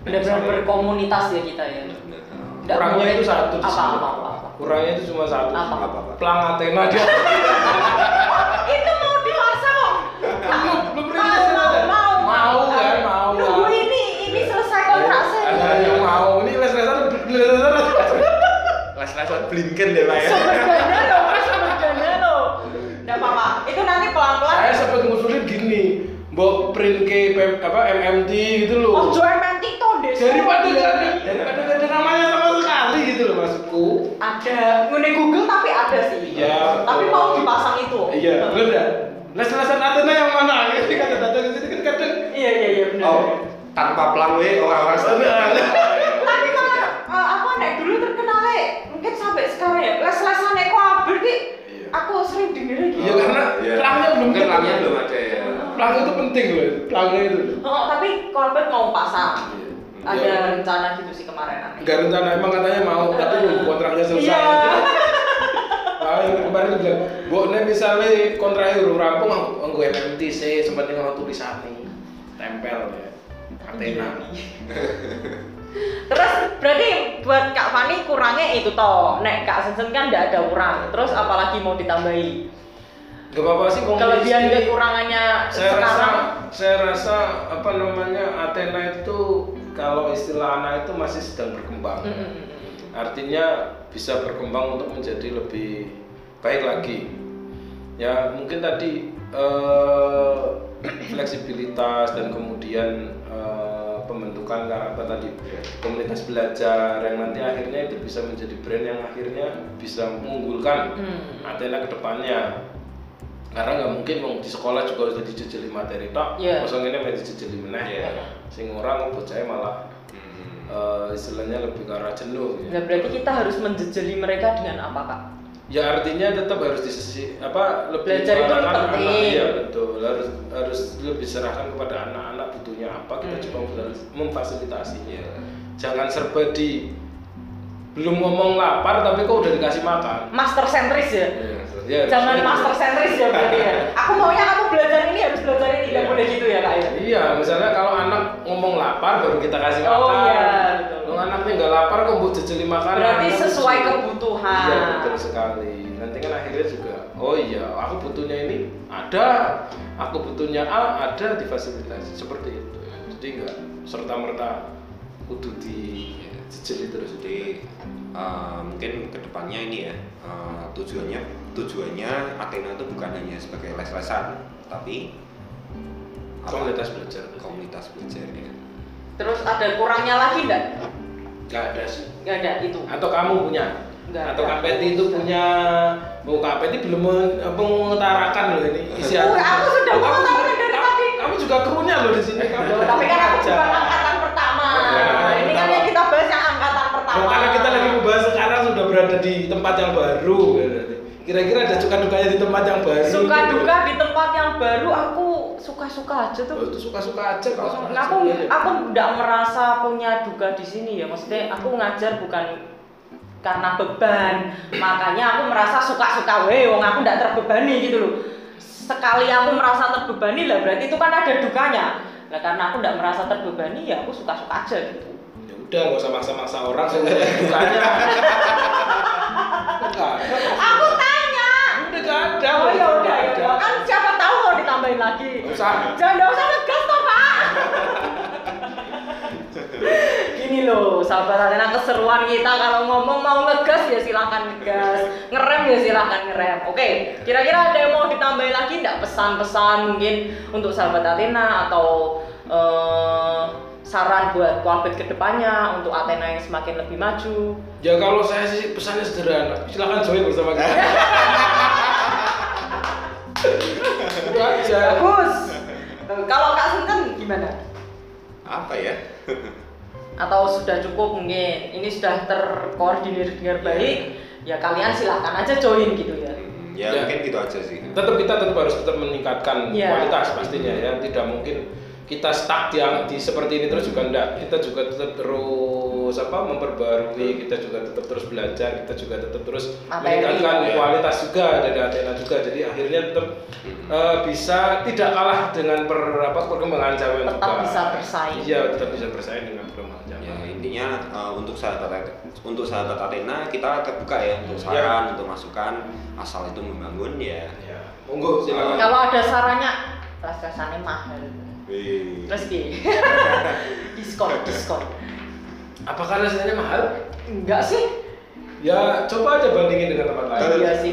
Speaker 1: Benar-benar
Speaker 3: misalnya-
Speaker 1: berkomunitas ya kita ya.
Speaker 3: Bener-bener, eh,
Speaker 1: Nggak
Speaker 2: Kurangnya
Speaker 1: boleh
Speaker 2: itu satu di
Speaker 1: apa,
Speaker 2: sini.
Speaker 1: apa, apa, apa.
Speaker 2: Kurangnya itu cuma satu.
Speaker 1: Apa?
Speaker 3: apa-apa.
Speaker 2: Pelang Athena dia.
Speaker 1: Itu mau dewasa kok.
Speaker 2: Belum belum
Speaker 1: Mau,
Speaker 2: rilis
Speaker 1: mau,
Speaker 2: ada.
Speaker 1: mau,
Speaker 2: Mau kan, mau.
Speaker 1: Nunggu ini, ini selesai kontrak saya.
Speaker 2: Ada yang mau. Ini les-lesan les-lesan.
Speaker 3: Les-lesan blinken deh pak ya.
Speaker 1: Sumber dana loh, Mas, sumber dana loh. Nggak apa-apa. Itu nanti pelan-pelan.
Speaker 2: Saya sempat ngusulin gini, mbok print ke P- apa MMT gitu
Speaker 1: Oh,
Speaker 2: loh.
Speaker 1: join nanti tahun desa.
Speaker 2: Daripada
Speaker 1: Iya.
Speaker 2: gak ada, daripada gak ada namanya sama sekali gitu loh maksudku.
Speaker 1: Ada ngune Google tapi ada sih.
Speaker 2: Iya,
Speaker 1: Tapi
Speaker 2: betul.
Speaker 1: mau dipasang itu.
Speaker 2: Iya, bener dah. Les-lesan Athena yang mana? Ini kan datang ke sini kan kadang
Speaker 1: Iya, iya, iya benar.
Speaker 3: Oh, tanpa pelang we
Speaker 2: Oh,
Speaker 3: orang-orang
Speaker 2: iya. Ya,
Speaker 3: sebenarnya.
Speaker 1: Tapi malah eh, aku nek dulu terkenal eh, mungkin sampai sekarang ya les-lesan nek kabel ki
Speaker 2: Iya.
Speaker 1: aku sering denger iki.
Speaker 2: Iya, karena pelangnya belum
Speaker 3: Mungkin
Speaker 2: ketemu.
Speaker 3: pelangnya belum ada ya.
Speaker 2: Pelang itu penting loh, pelangnya itu.
Speaker 1: Oh, tapi Corbett mau pasang.
Speaker 2: Iya.
Speaker 1: Ada
Speaker 2: Iya.
Speaker 1: rencana gitu sih kemarin nanti.
Speaker 2: Enggak rencana emang katanya mau, tapi belum kontraknya selesai.
Speaker 1: Iya.
Speaker 2: Ah, yang kemarin dia bilang, "Bu, nek misalnya kontraknya belum rampung, aku MMT sih, sempat nih orang tulisan nih." Tempel ya. Antena.
Speaker 1: Iya. Terus berarti buat Kak Fani kurangnya itu toh. Nek Kak Sensen kan nggak ada kurang. Terus apalagi mau ditambahi?
Speaker 2: Gak apa-apa sih kalau
Speaker 1: Kelebihan
Speaker 2: istri-
Speaker 1: kekurangannya
Speaker 2: saya rasa
Speaker 1: sekarang
Speaker 2: saya rasa apa namanya Athena itu kalau istilah anak itu masih sedang berkembang.
Speaker 1: Mm-mm.
Speaker 2: artinya bisa berkembang untuk menjadi lebih baik lagi ya mungkin tadi eh, fleksibilitas dan kemudian eh, pembentukan karakter tadi komunitas belajar yang nanti akhirnya itu bisa menjadi brand yang akhirnya bisa mengunggulkan
Speaker 1: Hmm.
Speaker 2: Athena ke depannya karena nggak mungkin wong di sekolah juga harus dijejeli materi tok
Speaker 1: Iya.
Speaker 2: kosong ini main dijejeli meneh
Speaker 3: Iya.
Speaker 2: sing orang bocahnya malah
Speaker 3: Hmm.
Speaker 2: eh, istilahnya lebih ke arah jenuh ya.
Speaker 1: Nah, berarti kita harus menjejeli mereka dengan apa kak?
Speaker 2: ya artinya tetap harus disisi apa lebih
Speaker 1: Belajar itu
Speaker 2: mengarahkan
Speaker 1: penting.
Speaker 2: anak, iya betul harus harus lebih serahkan kepada anak-anak butuhnya apa
Speaker 1: Hmm.
Speaker 2: kita
Speaker 1: Iya.
Speaker 2: coba memfasilitasi- memfasilitasinya jangan serba di belum ngomong lapar tapi kok udah dikasih makan
Speaker 1: Master sentris ya?
Speaker 2: Ya,
Speaker 1: Jangan
Speaker 2: harusnya
Speaker 1: master
Speaker 2: gitu.
Speaker 1: sentris ya berarti ya. Aku maunya kamu belajar ini harus belajar ini, nggak
Speaker 2: Iya.
Speaker 1: boleh gitu ya kak ya?
Speaker 2: iya misalnya kalau anak ngomong lapar baru kita kasih makan
Speaker 1: Oh, iya, betul.
Speaker 2: Kalau anaknya nggak lapar kok buat jejeli makanan
Speaker 1: Berarti
Speaker 2: Kan
Speaker 1: sesuai
Speaker 2: lucu.
Speaker 1: kebutuhan.
Speaker 2: Iya betul sekali. Nanti kan akhirnya juga, oh iya, aku butuhnya ini ada, aku butuhnya A ada di fasilitas seperti itu. Jadi enggak serta merta kudu di ya, jejeli terus
Speaker 3: Jadi eh, mungkin kedepannya ini ya eh, tujuannya tujuannya Athena itu bukan hanya sebagai les-lesan tapi apa?
Speaker 2: komunitas belajar.
Speaker 3: komunitas belajar ya.
Speaker 1: Terus ada kurangnya lagi nggak?
Speaker 2: Enggak ada sih.
Speaker 1: Nggak ada itu.
Speaker 2: Atau kamu punya?
Speaker 1: Nggak
Speaker 2: Atau
Speaker 1: ada.
Speaker 2: Kak Peti itu punya Bu Kak Peti belum men- eh, mengutarakan loh ini isi
Speaker 1: Oh, aku sudah
Speaker 2: Loh, kamu-
Speaker 1: mengutarakan dari
Speaker 2: kamu-
Speaker 1: tadi.
Speaker 2: Kamu juga krunya loh di sini. kamu.
Speaker 1: Tapi kan aku
Speaker 2: Aja.
Speaker 1: bukan angkatan pertama.
Speaker 2: Bukan Iya,
Speaker 1: Ini
Speaker 2: angkatan
Speaker 1: kan
Speaker 2: pertama.
Speaker 1: yang kita bahas yang angkatan pertama.
Speaker 2: Nah, karena kita lagi membahas sekarang sudah berada di tempat yang baru. Kira-kira ada suka dukanya di tempat yang baru.
Speaker 1: suka
Speaker 2: gitu.
Speaker 1: duka di tempat yang baru aku suka suka aja
Speaker 2: Oh,
Speaker 1: tuh.
Speaker 2: itu suka-suka aja kok.
Speaker 1: Aku aku nggak merasa punya duka di sini ya. Maksudnya aku ngajar bukan karena beban. Makanya aku merasa suka-suka we wong aku nggak terbebani gitu loh. Sekali aku merasa terbebani lah berarti itu kan ada dukanya. Lah karena aku nggak merasa terbebani ya aku suka-suka aja gitu.
Speaker 2: Ya udah nggak usah maksa-maksa orang suka dukanya. Enggak ada.
Speaker 1: Aku tanya.
Speaker 2: Udah nggak ada.
Speaker 1: Oh ya udah ya
Speaker 2: Nggak
Speaker 1: udah.
Speaker 2: ada.
Speaker 1: Kan siapa tahu mau ditambahin lagi.
Speaker 2: Iya, Nggak usah.
Speaker 1: Jangan nggak usah ngegas toh pak. Gini loh, sahabat Athena keseruan kita kalau ngomong mau ngegas ya silahkan ngegas, ngerem ya silahkan ngerem. Oke, kira-kira ada yang mau ditambahin lagi nggak pesan-pesan mungkin untuk sahabat Athena atau eh, saran buat Qualbet kedepannya untuk Athena yang semakin lebih maju?
Speaker 2: Ya kalau saya sih pesannya sederhana. Silakan join bersama kita. Itu aja.
Speaker 1: Bagus. Kalau Kak Senten gimana?
Speaker 3: Apa ya?
Speaker 1: atau sudah cukup mungkin ini sudah terkoordinir dengan
Speaker 2: Iya.
Speaker 1: baik ya kalian silahkan aja join gitu ya
Speaker 3: Hmm, ya,
Speaker 2: Ya.
Speaker 3: mungkin gitu aja sih.
Speaker 2: tetap kita tetap harus tetap meningkatkan
Speaker 1: Iya.
Speaker 2: kualitas pastinya ya tidak mungkin kita stuck di, di seperti ini terus juga enggak kita juga tetap terus terus apa memperbarui kita juga tetap terus belajar kita juga tetap terus
Speaker 1: Materi.
Speaker 2: meningkatkan
Speaker 3: Iya.
Speaker 2: kualitas juga dari Athena juga jadi akhirnya tetap eh, bisa tidak kalah dengan per, apa, perkembangan zaman
Speaker 1: Tetap
Speaker 2: juga
Speaker 1: bisa bersaing.
Speaker 2: iya tetap bisa bersaing dengan perkembangan zaman
Speaker 3: Ya, intinya eh, untuk sahabat untuk sahabat Athena kita terbuka ya
Speaker 2: Ya.
Speaker 3: untuk saran, untuk masukan asal itu membangun ya.
Speaker 2: ya monggo silakan
Speaker 1: Kalau ada sarannya, les-lesannya mahal.
Speaker 3: Wih.
Speaker 1: Terus di diskon, diskon.
Speaker 2: apakah rasanya mahal
Speaker 1: Enggak sih,
Speaker 2: ya coba aja bandingin dengan tempat lain
Speaker 1: Iya sih.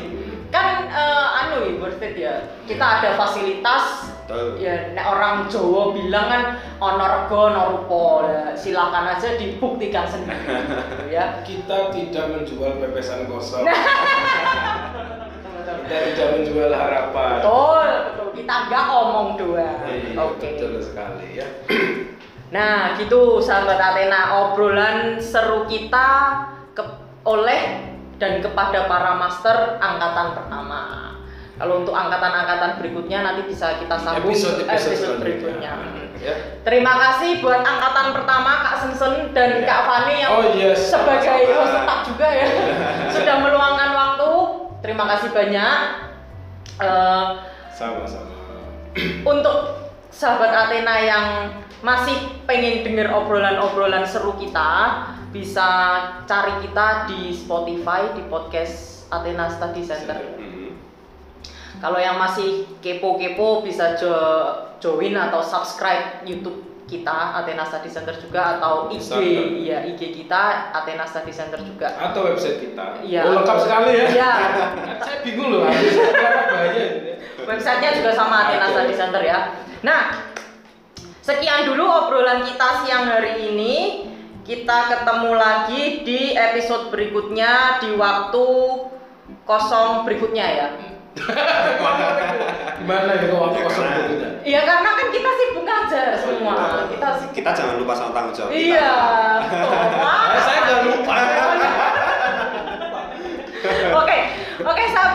Speaker 1: Kan eh, anu ya, worth it ya. Kita ada fasilitas
Speaker 3: Betul.
Speaker 1: ya nek orang Jawa bilang kan ono rego ono rupa. Lah, silakan aja dibuktikan sendiri gitu ya.
Speaker 2: kita tidak menjual pepesan kosong kita tidak menjual harapan
Speaker 1: Betul, betul. Kita nggak omong dua.
Speaker 2: Iya,
Speaker 1: Oh, Oke.
Speaker 2: betul sekali ya
Speaker 1: Nah, gitu sahabat Athena obrolan seru kita ke- oleh dan kepada para master angkatan pertama. Kalau untuk angkatan-angkatan berikutnya nanti bisa kita sambung
Speaker 2: episode episode,
Speaker 1: episode
Speaker 2: berikutnya
Speaker 1: berikutnya.
Speaker 2: ya
Speaker 1: Terima kasih buat angkatan pertama Kak Sensen dan
Speaker 2: Iya.
Speaker 1: Kak Fani yang
Speaker 2: Oh,
Speaker 1: Ya,
Speaker 2: yes.
Speaker 1: sebagai
Speaker 3: Sama-sama.
Speaker 1: host tetap juga ya sudah meluangkan waktu. Terima kasih banyak. Eh,
Speaker 2: sama-sama
Speaker 1: untuk sahabat Athena yang masih pengen denger obrolan-obrolan seru kita bisa cari kita di Spotify di podcast Athena Study Center.
Speaker 3: Mhm.
Speaker 1: Kalau yang masih kepo-kepo bisa jo- join atau subscribe YouTube kita Athena Study Center juga atau IG
Speaker 2: Instagram.
Speaker 1: ya IG kita Athena Study Center juga.
Speaker 2: atau website kita
Speaker 1: Iya.
Speaker 2: oh, lengkap sekali ya
Speaker 1: Iya.
Speaker 2: saya bingung loh harus apa bahaya ini ya.
Speaker 1: Websitenya juga sama Athena Study Center ya. Nah, sekian dulu obrolan kita siang hari ini. Kita ketemu lagi di episode berikutnya di waktu kosong berikutnya ya.
Speaker 3: Hmm.
Speaker 2: gimana ya kalau waktu
Speaker 3: Ya,
Speaker 2: kosong
Speaker 3: karena-
Speaker 2: berikutnya
Speaker 1: Iya karena kan kita sibuk ngajar semua. Kita sibuk.
Speaker 3: Oh, iya. Kita jangan lupa sama tanggung jawab kita.
Speaker 1: Iya. betul.
Speaker 2: Ah,
Speaker 1: Wah.
Speaker 2: saya nggak lupa
Speaker 1: Oke, oke sahabat